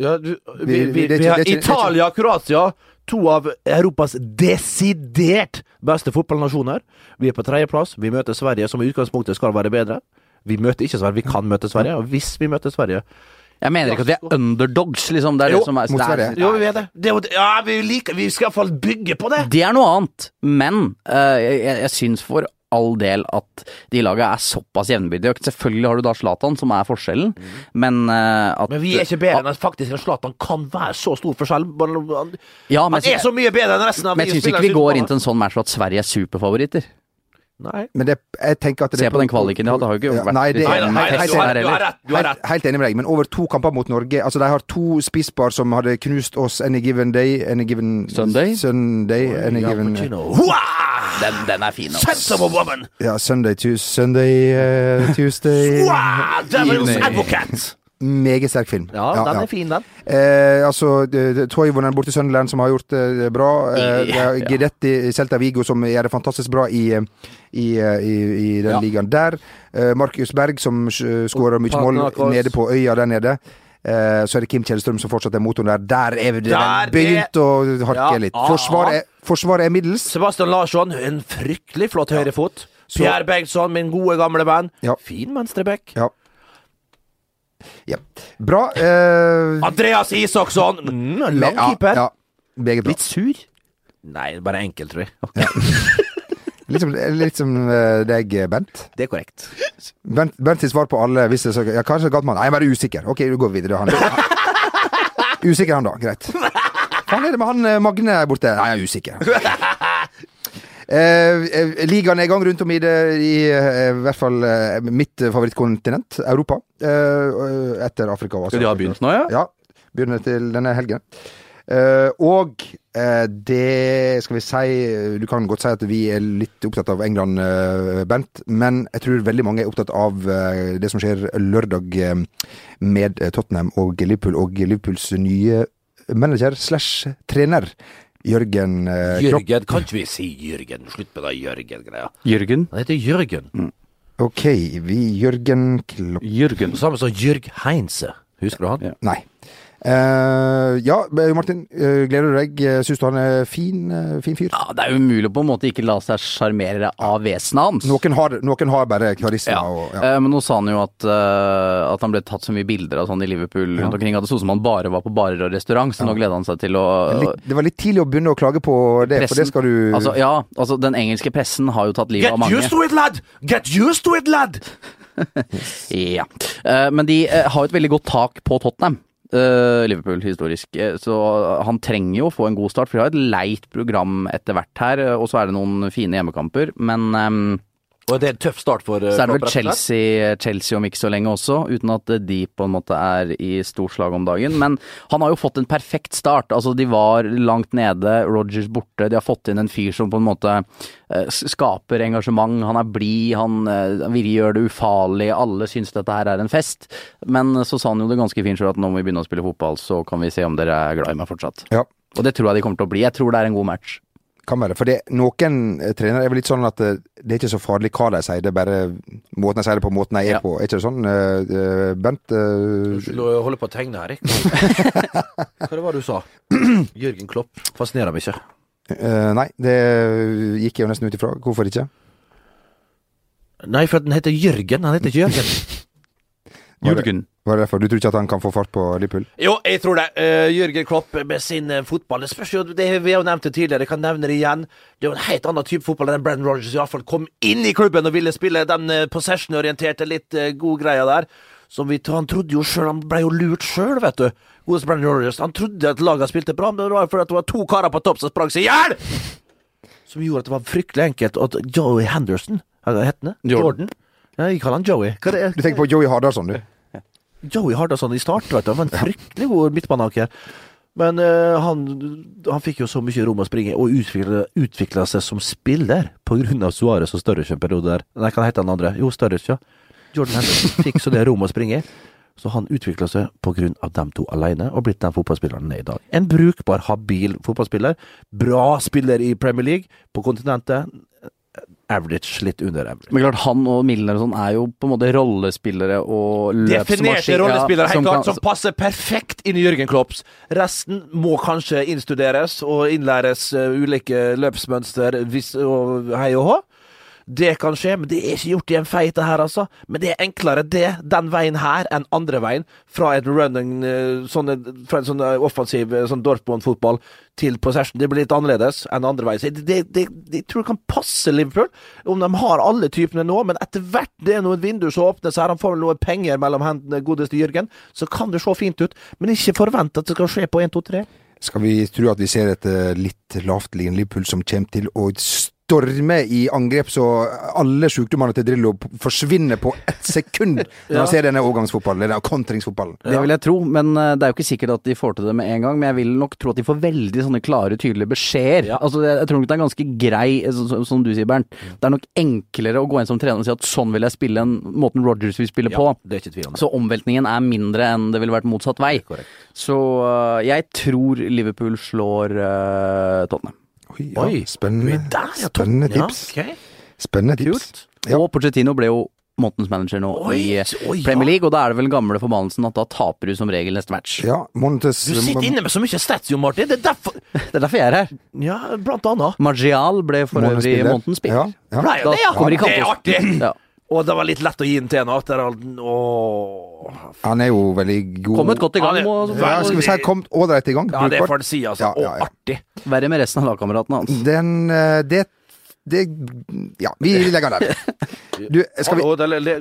Speaker 3: Ja, du, vi,
Speaker 2: Vi-
Speaker 3: vi,
Speaker 2: vi-
Speaker 3: vi,
Speaker 2: det er ikke-
Speaker 3: har
Speaker 2: det er ikke-
Speaker 3: Italia og Kroatia, to av Europas desidert beste fotballnasjoner. Vi er på tredjeplass. Vi møter Sverige, som i utgangspunktet skal være bedre. Vi møter ikke Sverige, vi kan møte Sverige. Og hvis vi møter Sverige
Speaker 4: Jeg mener ikke at vi er underdogs, liksom. Det er
Speaker 3: Jo,
Speaker 4: det som er,
Speaker 2: mot
Speaker 4: det er,
Speaker 2: Sverige.
Speaker 3: Jo, vi er det. det er jo- ja, vi, liker, vi skal iallfall bygge på det.
Speaker 4: Det er noe annet, men eh, jeg, jeg- jeg syns for all del at de laga er såpass jevnbyrdige. Selvfølgelig har du da Zlatan, som er forskjellen, men eh, at
Speaker 3: Mm. Men vi er ikke bedre enn at faktisk at Zlatan kan være så stor forskjell. mellom- Han,
Speaker 4: ja,
Speaker 3: han
Speaker 4: men,
Speaker 3: er
Speaker 4: jeg
Speaker 3: så
Speaker 4: syns-
Speaker 3: mye bedre enn resten av
Speaker 4: men jeg syns ikke vi går inn til en sånn match for at Sverige er superfavoritter.
Speaker 3: Nei.
Speaker 2: Men det, jeg tenker at det
Speaker 4: Se på den kvaliken de har hatt, det har jo ikke
Speaker 2: Ja,
Speaker 4: vært
Speaker 2: nei, det-
Speaker 4: litt
Speaker 3: Nei, nei,
Speaker 4: sånn
Speaker 3: nei,
Speaker 4: fest
Speaker 3: du har,
Speaker 4: der
Speaker 3: du har
Speaker 4: heller.
Speaker 3: rett. Du har rett.
Speaker 2: Helt, helt enig med deg, men over to kamper mot Norge Altså, de har to spisspar som hadde knust oss any given day, any given
Speaker 4: Sunday?
Speaker 2: Sunday, any
Speaker 3: Ja,
Speaker 2: given
Speaker 3: Pacino. Hua!
Speaker 4: Mm. Den, den er fin, altså.
Speaker 3: Sense of a woman!
Speaker 2: Ja, Sunday, Tues- Sunday, eh, Tuesday
Speaker 3: Wow,
Speaker 2: Eh,
Speaker 3: Devil's Advocate!
Speaker 2: Meget sterk film.
Speaker 8: Ja, den er fin, den.
Speaker 2: Eh, altså, det- det- Toivonen borte i Sunderland som har gjort det bra. Eh, det er
Speaker 4: Ja.
Speaker 2: Guidetti i Celta Vigo som gjør det fantastisk bra i, eh, i, eh, i, i den
Speaker 4: Ja.
Speaker 2: ligaen der. Eh, Markus Berg som eh, skårer mye mål
Speaker 3: Panathinaikos.
Speaker 2: nede på øya der nede. Eh, så er det Kim Kjellstrøm som fortsatt er motoren der. Der er det
Speaker 3: Der
Speaker 2: begynt å harke
Speaker 3: Ja,
Speaker 2: litt.
Speaker 3: ah,
Speaker 2: Forsvaret er, forsvaret er middels.
Speaker 3: Sebastian Larsson, en fryktelig flott høyrefot. Pierre Bergson, min gode, gamle venn.
Speaker 2: Ja.
Speaker 3: Fin venstreback.
Speaker 2: Ja. ja. Bra. Eh,
Speaker 3: Andreas Isaksson, mm, en lang
Speaker 2: ja,
Speaker 3: keeper.
Speaker 2: Ja, meget bra.
Speaker 4: Litt sur.
Speaker 3: Nei, bare enkel, tror jeg.
Speaker 2: Litt som, litt som eh, deg, Bent.
Speaker 3: Det er korrekt.
Speaker 2: Bent, Bent sitt svar på alle hvis det er så, ja, Kanskje Gatman. Nei, jeg er bare usikker. Ok, du går videre. Han, usikker han da, greit. Faen er det med han eh, Magne her borte? Nei, jeg er usikker. Eh, eh, Ligaen er i gang rundt om i det i, eh, i hvert fall eh, mitt eh, favorittkontinent, Europa. Eh, eh, etter Afrika og Asia.
Speaker 4: Skal de ha begynt nå, ja?
Speaker 2: Ja. Begynner til denne helgen. Eh, og eh, det skal vi si Du kan godt si at vi er litt opptatt av England, eh, Bent. Men jeg tror veldig mange er opptatt av eh, det som skjer lørdag eh, med eh, Tottenham og Liverpool. Og Liverpools nye manager slash trener, Jørgen eh, Klopp.
Speaker 3: Jørgen, kan ikke vi si Jørgen? Slutt med det Jørgen-greia.
Speaker 4: Jørgen.
Speaker 3: Han heter Jørgen.
Speaker 2: Ok, vi Jørgen Klopp
Speaker 4: Jørgen.
Speaker 3: Samme som Jørg Heinze. Husker du han?
Speaker 4: Ja.
Speaker 2: Nei. Eh, ja, Martin. eh, gleder du deg? Syns du han er fin, eh, fin fyr?
Speaker 4: Ja, det er jo umulig å på en måte ikke la seg sjarmere av vesenet hans.
Speaker 2: Noen har, noen har bare karisma. Og, ja.
Speaker 4: Eh, Men nå sa han jo at, eh, at han ble tatt så mye bilder av sånn i Liverpool rundt omkring. At det så ut som han bare var på barer og restaurant, så nå gleda han seg til å eh,
Speaker 2: Litt, det var litt tidlig å begynne å klage på det, for det skal du
Speaker 4: Altså, ja, altså den engelske pressen har jo tatt livet
Speaker 3: Get
Speaker 4: av mange.
Speaker 3: used to it, lad! Get used to it, lad!
Speaker 4: Ja. Eh, Men de eh, har jo et veldig godt tak på Tottenham. eh, Liverpool historisk. Eh, Så han trenger jo å få en god start, for de har et leit program etter hvert her. eh, Og så er det noen fine hjemmekamper. Men ehm,
Speaker 3: Og det er en tøff start for eh,
Speaker 4: Så er det
Speaker 3: Klopp,
Speaker 4: vel
Speaker 3: rett og slett.
Speaker 4: Chelsea, Chelsea om ikke så lenge også, uten at de på en måte er i storslag om dagen. Men han har jo fått en perfekt start. Altså, de var langt nede, Rogers borte. De har fått inn en fyr som på en måte eh, s- skaper engasjement. Han er blid, han eh, vil gjøre det ufarlig. Alle syns dette her er en fest. Men så sa han jo det ganske fint sjøl at nå må vi begynne å spille fotball, så kan vi se om dere er glad i meg fortsatt.
Speaker 2: ja.
Speaker 4: Og det tror jeg de kommer til å bli. Jeg tror det er en god match.
Speaker 2: Kan være. For det, noen eh, trenere er vel litt sånn at eh, det er ikke så farlig hva de sier, det er bare måten de sier det på, måten de er
Speaker 4: Ja.
Speaker 2: på. Er ikke det sånn, eh, eh, Bent? eh,
Speaker 3: Unnskyld, jeg holder på å tegne her, jeg. Hva var det du sa? Jørgen Klopp fascinerer meg ikke.
Speaker 2: eh, nei, det gikk jeg jo nesten ut ifra. Hvorfor ikke?
Speaker 3: Nei, for at den heter Jørgen. Han heter ikke Jørgen.
Speaker 2: Var det,
Speaker 4: Jørgen.
Speaker 2: var det derfor? Du tror ikke at han kan få fart på Liverpool?
Speaker 3: Jo, jeg tror det. Eh, Jørgen Klopp med sin eh, fotball. Det spørs jo, det vi har jo nevnt det tidligere, jeg kan nevne det igjen. Det er jo en helt annen type fotball enn Brendan Rogers iallfall kom inn i klubben og ville spille den eh, possession-orienterte, litt eh, gode greia der. Som vi, han trodde jo sjøl, han ble jo lurt sjøl, vet du. Godeste Brendan Rogers. Han trodde at laget spilte bra, men det var fordi at det var to karer på topp som sprang seg i hjel! Som gjorde at det var fryktelig enkelt. Og at Joey Henderson, hva heter han? Jordan?
Speaker 4: Jordan.
Speaker 3: Ja, jeg kaller han Joey. Hva er det?
Speaker 2: Du tenker på Joey Hardarson, du.
Speaker 3: Joey Hardasson i start, vet du. Han var en fryktelig god midtbaneanker. Men eh, han, han fikk jo så mye rom å springe, og utvikla- utvikla seg som spiller pga. Suárez og Sturridge en periode der. Nei, hva heter han andre? Jo, Sturridge, ja. Jordan Henderson fikk så det rommet å springe i. Så han utvikla seg pga. dem to alene, og blitt den fotballspilleren han er i dag. En brukbar, habil fotballspiller. Bra spiller i Premier League, på kontinentet. Average, litt under average.
Speaker 4: Men klart, han og Milner og sånn er jo på en måte rollespillere og løpsmaskiner.
Speaker 3: Definerte rollespillere, helt
Speaker 4: som
Speaker 3: klart,
Speaker 4: kan-
Speaker 3: som passer perfekt inn i Jørgen Klopps. Resten må kanskje innstuderes og innlæres eh, ulike løpsmønster hvis, og hei og hå. Det kan skje, men det er ikke gjort i en feit, det her, altså. Men det er enklere det, den veien her, enn andre veien. Fra et running eh, sånne, Fra en sånn eh, offensiv eh, sånn Dortmund-fotball til possession. Det blir litt annerledes enn andre veien. Så jeg- det, det, det, jeg tror det kan passe Liverpool, om de har alle typene nå. Men etter hvert det er noen vinduer som åpnes her, han får vel noe penger mellom hendene, godeste Jørgen, så kan det se fint ut. Men ikke forvent at det skal skje på 1, 2, 3.
Speaker 2: Skal vi tro at vi ser et eh, litt lavtliggende Liverpool som kommer til å storme i angrep, så alle sjukdommene til Drillo p- forsvinner på ett sekund når man ser denne overgangsfotballen, eller kontringsfotballen?
Speaker 4: Det vil jeg tro, men eh, det er jo ikke sikkert at de får til det med en gang. Men jeg vil nok tro at de får veldig sånne klare, tydelige beskjeder. Altså, jeg, jeg tror nok det er ganske grei, eh, så, så, som du sier, Bernt.
Speaker 3: Mm.
Speaker 4: Det er nok enklere å gå inn som trener og si at sånn vil jeg spille, enn måten Rogers vil spille på.
Speaker 3: Det er ikke tvil om.
Speaker 4: Så omveltningen er mindre enn det ville vært motsatt vei.
Speaker 3: Korrekt.
Speaker 4: Så eh, jeg tror Liverpool slår eh, Tottenham.
Speaker 2: Oi, ja,
Speaker 3: Oi.
Speaker 2: spennende,
Speaker 3: Der, ja,
Speaker 2: spennende
Speaker 3: topp.
Speaker 2: tips.
Speaker 3: Ja, ok.
Speaker 2: Spennende tips. Ja.
Speaker 4: Og Pochettino ble jo månedens manager nå i eh,
Speaker 3: oi, ja.
Speaker 4: Premier League, og da er det vel gamle forbannelsen at da taper du som regel neste match.
Speaker 2: Ja, Montes
Speaker 3: Du sitter inne med så mye stats, jo, Martin. Det er derfor
Speaker 4: Det er derfor jeg er her.
Speaker 3: Ja, blant annet.
Speaker 4: Margial ble for øvrig
Speaker 2: Månedsspiller.
Speaker 4: månedens spiller.
Speaker 2: Ja, ja.
Speaker 3: Blei jo det, ja.
Speaker 4: Da kommer de
Speaker 3: Det er
Speaker 4: kampos.
Speaker 3: artig!
Speaker 4: Ja.
Speaker 3: Og det var litt lett å gi den til henne etter all den Åh.
Speaker 2: Han er jo veldig god
Speaker 4: Kommet godt i gang.
Speaker 3: Ja,
Speaker 4: Må
Speaker 3: det-
Speaker 2: Ja, skal vi si kommet ålreit i gang.
Speaker 3: Ja, det
Speaker 2: brukbart.
Speaker 3: får en si, altså.
Speaker 2: Ja, ja, ja.
Speaker 3: Å, artig.
Speaker 4: være med resten av lagkameratene hans.
Speaker 2: Den eh, Det det Ja, vi legger den der. Du, skal vi
Speaker 3: Å, det, det,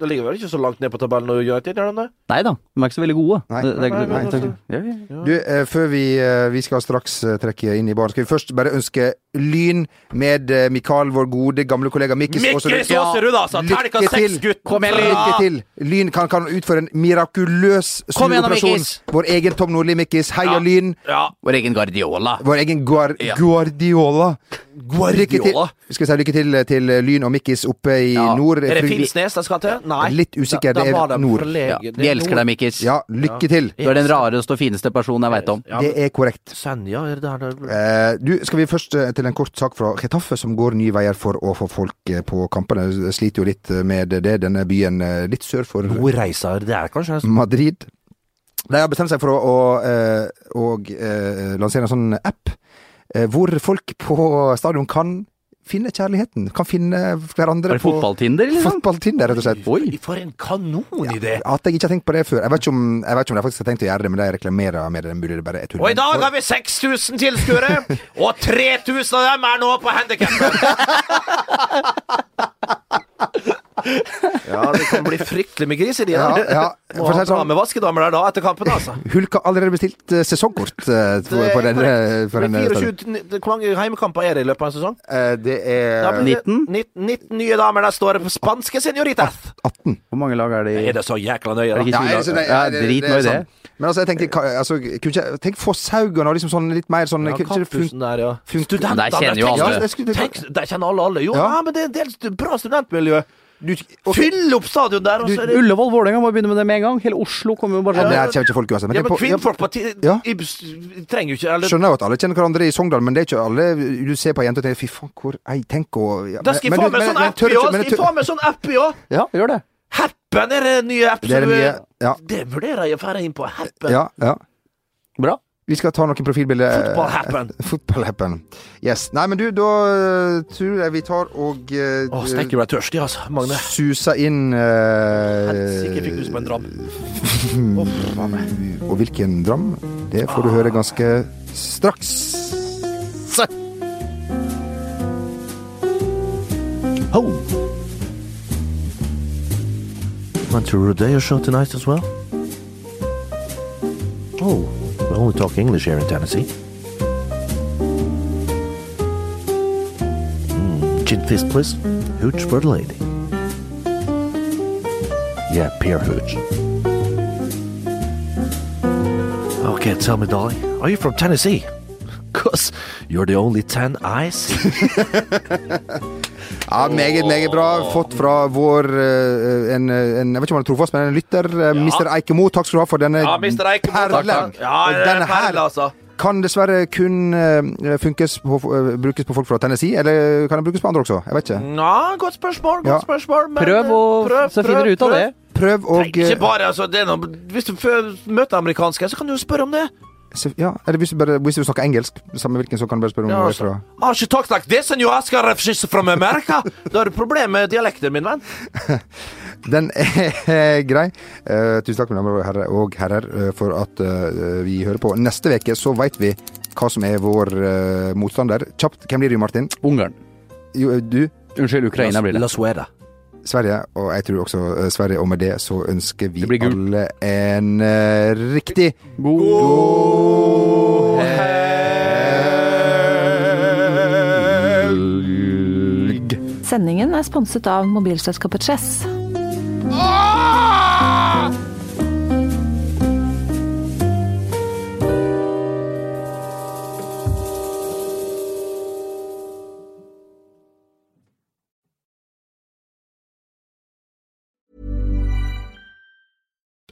Speaker 3: det ligger vel ikke så langt ned på tabellen nå, United? Gjør de det?
Speaker 4: Nei da, de er ikke så veldig gode.
Speaker 2: Nei,
Speaker 4: Det- det er
Speaker 2: nei,
Speaker 4: ikke-
Speaker 2: nei,
Speaker 4: det er
Speaker 2: nei,
Speaker 4: ikke- Ja, ja.
Speaker 2: Du, eh, før vi, eh, vi skal straks eh, trekke inn i baren, skal vi først bare ønske lyn med eh, Mikael, vår gode, gamle kollega Mikkis.
Speaker 10: Mikkel Såserud, altså! Terningkast seks, gutt!
Speaker 2: Kom igjen, lykke til! Lyn kan, kan utføre en mirakuløs
Speaker 4: Kom igjen da,
Speaker 2: snuoperasjon.
Speaker 4: Mikkis!
Speaker 2: Vår egen Tom Nordli, Mikkis. Heia Lyn!
Speaker 10: Ja.
Speaker 4: Vår egen Guardiola.
Speaker 2: Vår egen Guar
Speaker 4: Ja.
Speaker 2: Guardiola. Lykke til.
Speaker 4: Guardiola.
Speaker 2: Skal vi si lykke til til Lyn og Mikkis oppe i
Speaker 4: Ja.
Speaker 2: nord.
Speaker 3: Er det Finnsnes de skal til? Nei.
Speaker 2: Litt usikker,
Speaker 3: Da-
Speaker 2: det
Speaker 3: da
Speaker 2: er
Speaker 3: var de
Speaker 2: nord.
Speaker 3: forlegen.
Speaker 4: Ja,
Speaker 3: Det
Speaker 4: vi
Speaker 3: er
Speaker 4: elsker
Speaker 3: nord.
Speaker 4: deg, Mikkis.
Speaker 2: Ja, lykke til!
Speaker 4: Du er den rareste og fineste personen jeg veit om.
Speaker 3: Ja,
Speaker 2: Det
Speaker 3: men
Speaker 2: er korrekt.
Speaker 3: Senja, er det der det
Speaker 2: Eh, du, skal vi først eh, til en kort sak fra Chetaffe, som går nye veier for å få folk eh, på kampene. Jeg Sliter jo litt eh, med det, denne byen eh, litt sør for
Speaker 3: Nordreisa, det er kanskje
Speaker 2: Mm.
Speaker 3: en
Speaker 2: Madrid. De har bestemt seg for å, å, eh, og, eh, lansere en sånn app eh, hvor folk på stadion kan finne kjærligheten. Kan finne
Speaker 4: Er
Speaker 2: hverandre
Speaker 4: det fotballtinder, liksom?
Speaker 2: fotballtinder, rett og slett.
Speaker 4: Oi!
Speaker 3: For en kanonidé!
Speaker 2: At jeg ikke har tenkt på det før. Jeg vet ikke om jeg, vet ikke om jeg faktisk har tenkt å gjøre det, men de reklamerer med det. Mulig det bare er tull.
Speaker 10: Og i dag har vi 6000 tilskuere, og 3000 av dem er nå på handikappen.
Speaker 3: Ja, det kan bli fryktelig med gris i de
Speaker 2: Ja,
Speaker 3: her.
Speaker 2: ja.
Speaker 3: Må
Speaker 2: For å si
Speaker 3: ha
Speaker 2: det sånn.
Speaker 3: med vaskedamer der da, etter kampen, altså.
Speaker 2: Hulk har allerede bestilt eh, sesongkort eh, for, for denne.
Speaker 3: Det
Speaker 2: For
Speaker 3: blir
Speaker 2: denne
Speaker 3: 24, det- Hvor mange heimekamper er det i løpet av en sesong?
Speaker 2: Eh, det
Speaker 3: Da blir det
Speaker 2: er
Speaker 4: 19?
Speaker 3: 19, 19 nye damer neste år. Spanske senioritas!
Speaker 2: 18.
Speaker 4: Hvor mange lag er det i
Speaker 3: Er det så jækla nøye,
Speaker 4: Er det
Speaker 3: da?
Speaker 4: ikke-
Speaker 2: Ja, altså, det-
Speaker 4: Ja,
Speaker 2: det- det-
Speaker 4: drit
Speaker 2: det
Speaker 4: nå i
Speaker 2: er
Speaker 4: det.
Speaker 2: sant. Men altså, jeg tenker, ka- altså, kunne ikke, tenk Fosshaugen og liksom sånn litt mer sånn
Speaker 3: Ja,
Speaker 2: kunne ikke det fun-
Speaker 3: Kampusen der, ja.
Speaker 2: funke-
Speaker 3: Studentene
Speaker 4: Der kjenner jo
Speaker 3: tenk-
Speaker 2: Ja,
Speaker 4: alle.
Speaker 2: det skulle-
Speaker 3: Tenk, der kjenner alle alle. Jo,
Speaker 2: Ja.
Speaker 3: ja. men det er en del stu- bra studentmiljø.
Speaker 2: du, ok,
Speaker 3: Fyll opp stadion der, og så er det
Speaker 4: Ullevål Vålerenga må jo begynne med det med en gang. Hele Oslo kommer jo bare
Speaker 2: ja, men
Speaker 4: sånn.
Speaker 2: her kommer ikke folk uansett. Men
Speaker 3: Ja,
Speaker 2: det er
Speaker 3: men
Speaker 2: på- ja,
Speaker 3: kvinnfolk på ti-
Speaker 2: Ja.
Speaker 3: i bs- trenger jo ikke eller,
Speaker 2: Skjønner jo at alle kjenner hverandre i Sogndal, men det er ikke alle du ser på ei jente og tenker 'fy faen, hvor ei tenk å ja,
Speaker 3: Da skal jeg
Speaker 2: men-
Speaker 3: få
Speaker 2: men-
Speaker 3: meg
Speaker 2: men-
Speaker 3: sånn
Speaker 2: men
Speaker 3: app
Speaker 2: tør
Speaker 3: i
Speaker 2: ikke-
Speaker 3: år!
Speaker 2: men
Speaker 3: Skal jeg få meg sånn app i år!
Speaker 4: Ja, gjør det.
Speaker 3: Happen er det nye app
Speaker 2: Det er det
Speaker 3: som du- eh,
Speaker 2: nye. Ja.
Speaker 3: Det vurderer jeg å dra inn på. Happen.
Speaker 2: ja, ja.
Speaker 4: Bra.
Speaker 2: Vi skal ta noen profilbilder.
Speaker 3: Fotball-happen.
Speaker 2: Fotballhappen. Yes. Nei, men du, da øh, tror jeg vi tar og øh,
Speaker 3: Å, steike, du er tørstig, altså, Magne.
Speaker 2: suser inn øh,
Speaker 3: Helsike, fikk du som en dram.
Speaker 2: Og hvilken dram? Det får du høre ganske straks.
Speaker 8: Went to Rodeo show tonight as well? Oh, we only talk English here in Tennessee. Mm, gin fizz, please. Hooch for the lady. Yeah, peer hooch. Okay, tell me, Dolly, are you from Tennessee? Cause you're the only ten I see.
Speaker 2: Ja, Meget, meget bra. Fått fra vår øh, en, øh, en, Jeg vet ikke om han er trofast, men en lytter. øh, Mr. Eikemo, takk skal du ha for denne
Speaker 3: Ja, Mr. Eikemo, takk,
Speaker 2: perlen.
Speaker 3: takk. Ja, det er
Speaker 2: Denne
Speaker 3: en perle,
Speaker 2: her
Speaker 3: altså.
Speaker 2: kan dessverre kun øh, funkes på, øh, brukes på folk fra Tennessee, eller kan den brukes på andre også? Jeg vet
Speaker 3: Mm.
Speaker 2: ikke.
Speaker 3: Ja, godt spørsmål,
Speaker 2: Ja.
Speaker 3: godt spørsmål. men,
Speaker 4: Prøv, og,
Speaker 3: eh, prøv,
Speaker 4: så finner
Speaker 3: prøv,
Speaker 4: du ut av
Speaker 3: prøv.
Speaker 4: det. eh,
Speaker 2: Prøv å
Speaker 3: Nei, ikke bare, altså, det er noe, Hvis du fø- møter amerikanske, så kan du jo spørre om det.
Speaker 2: eh, Se- Ja, eller hvis du, bare, hvis du snakker engelsk, samme hvilken, så kan du bare spørre om
Speaker 3: Ja,
Speaker 2: hvor
Speaker 3: altså.
Speaker 2: er fra.
Speaker 3: Har ikke talk like this and you ask her if she's from America? Da har du problem med dialekten, min venn.
Speaker 2: Den er grei. Eh, tusen takk, mine damer og herrer, og herrer eh, for at eh, vi hører på. Neste uke så veit vi hva som er vår eh, motstander. Kjapt, hvem blir du, Martin?
Speaker 4: Ungarn.
Speaker 2: Jo, eh, du,
Speaker 4: Unnskyld, Ukraina blir det.
Speaker 8: La Sueda.
Speaker 2: Sverige, og jeg tror også eh, Sverige. Og med det så ønsker vi
Speaker 4: Det blir gult.
Speaker 2: alle en eh, riktig
Speaker 1: Sendingen er sponset av mobilselskapet Chess.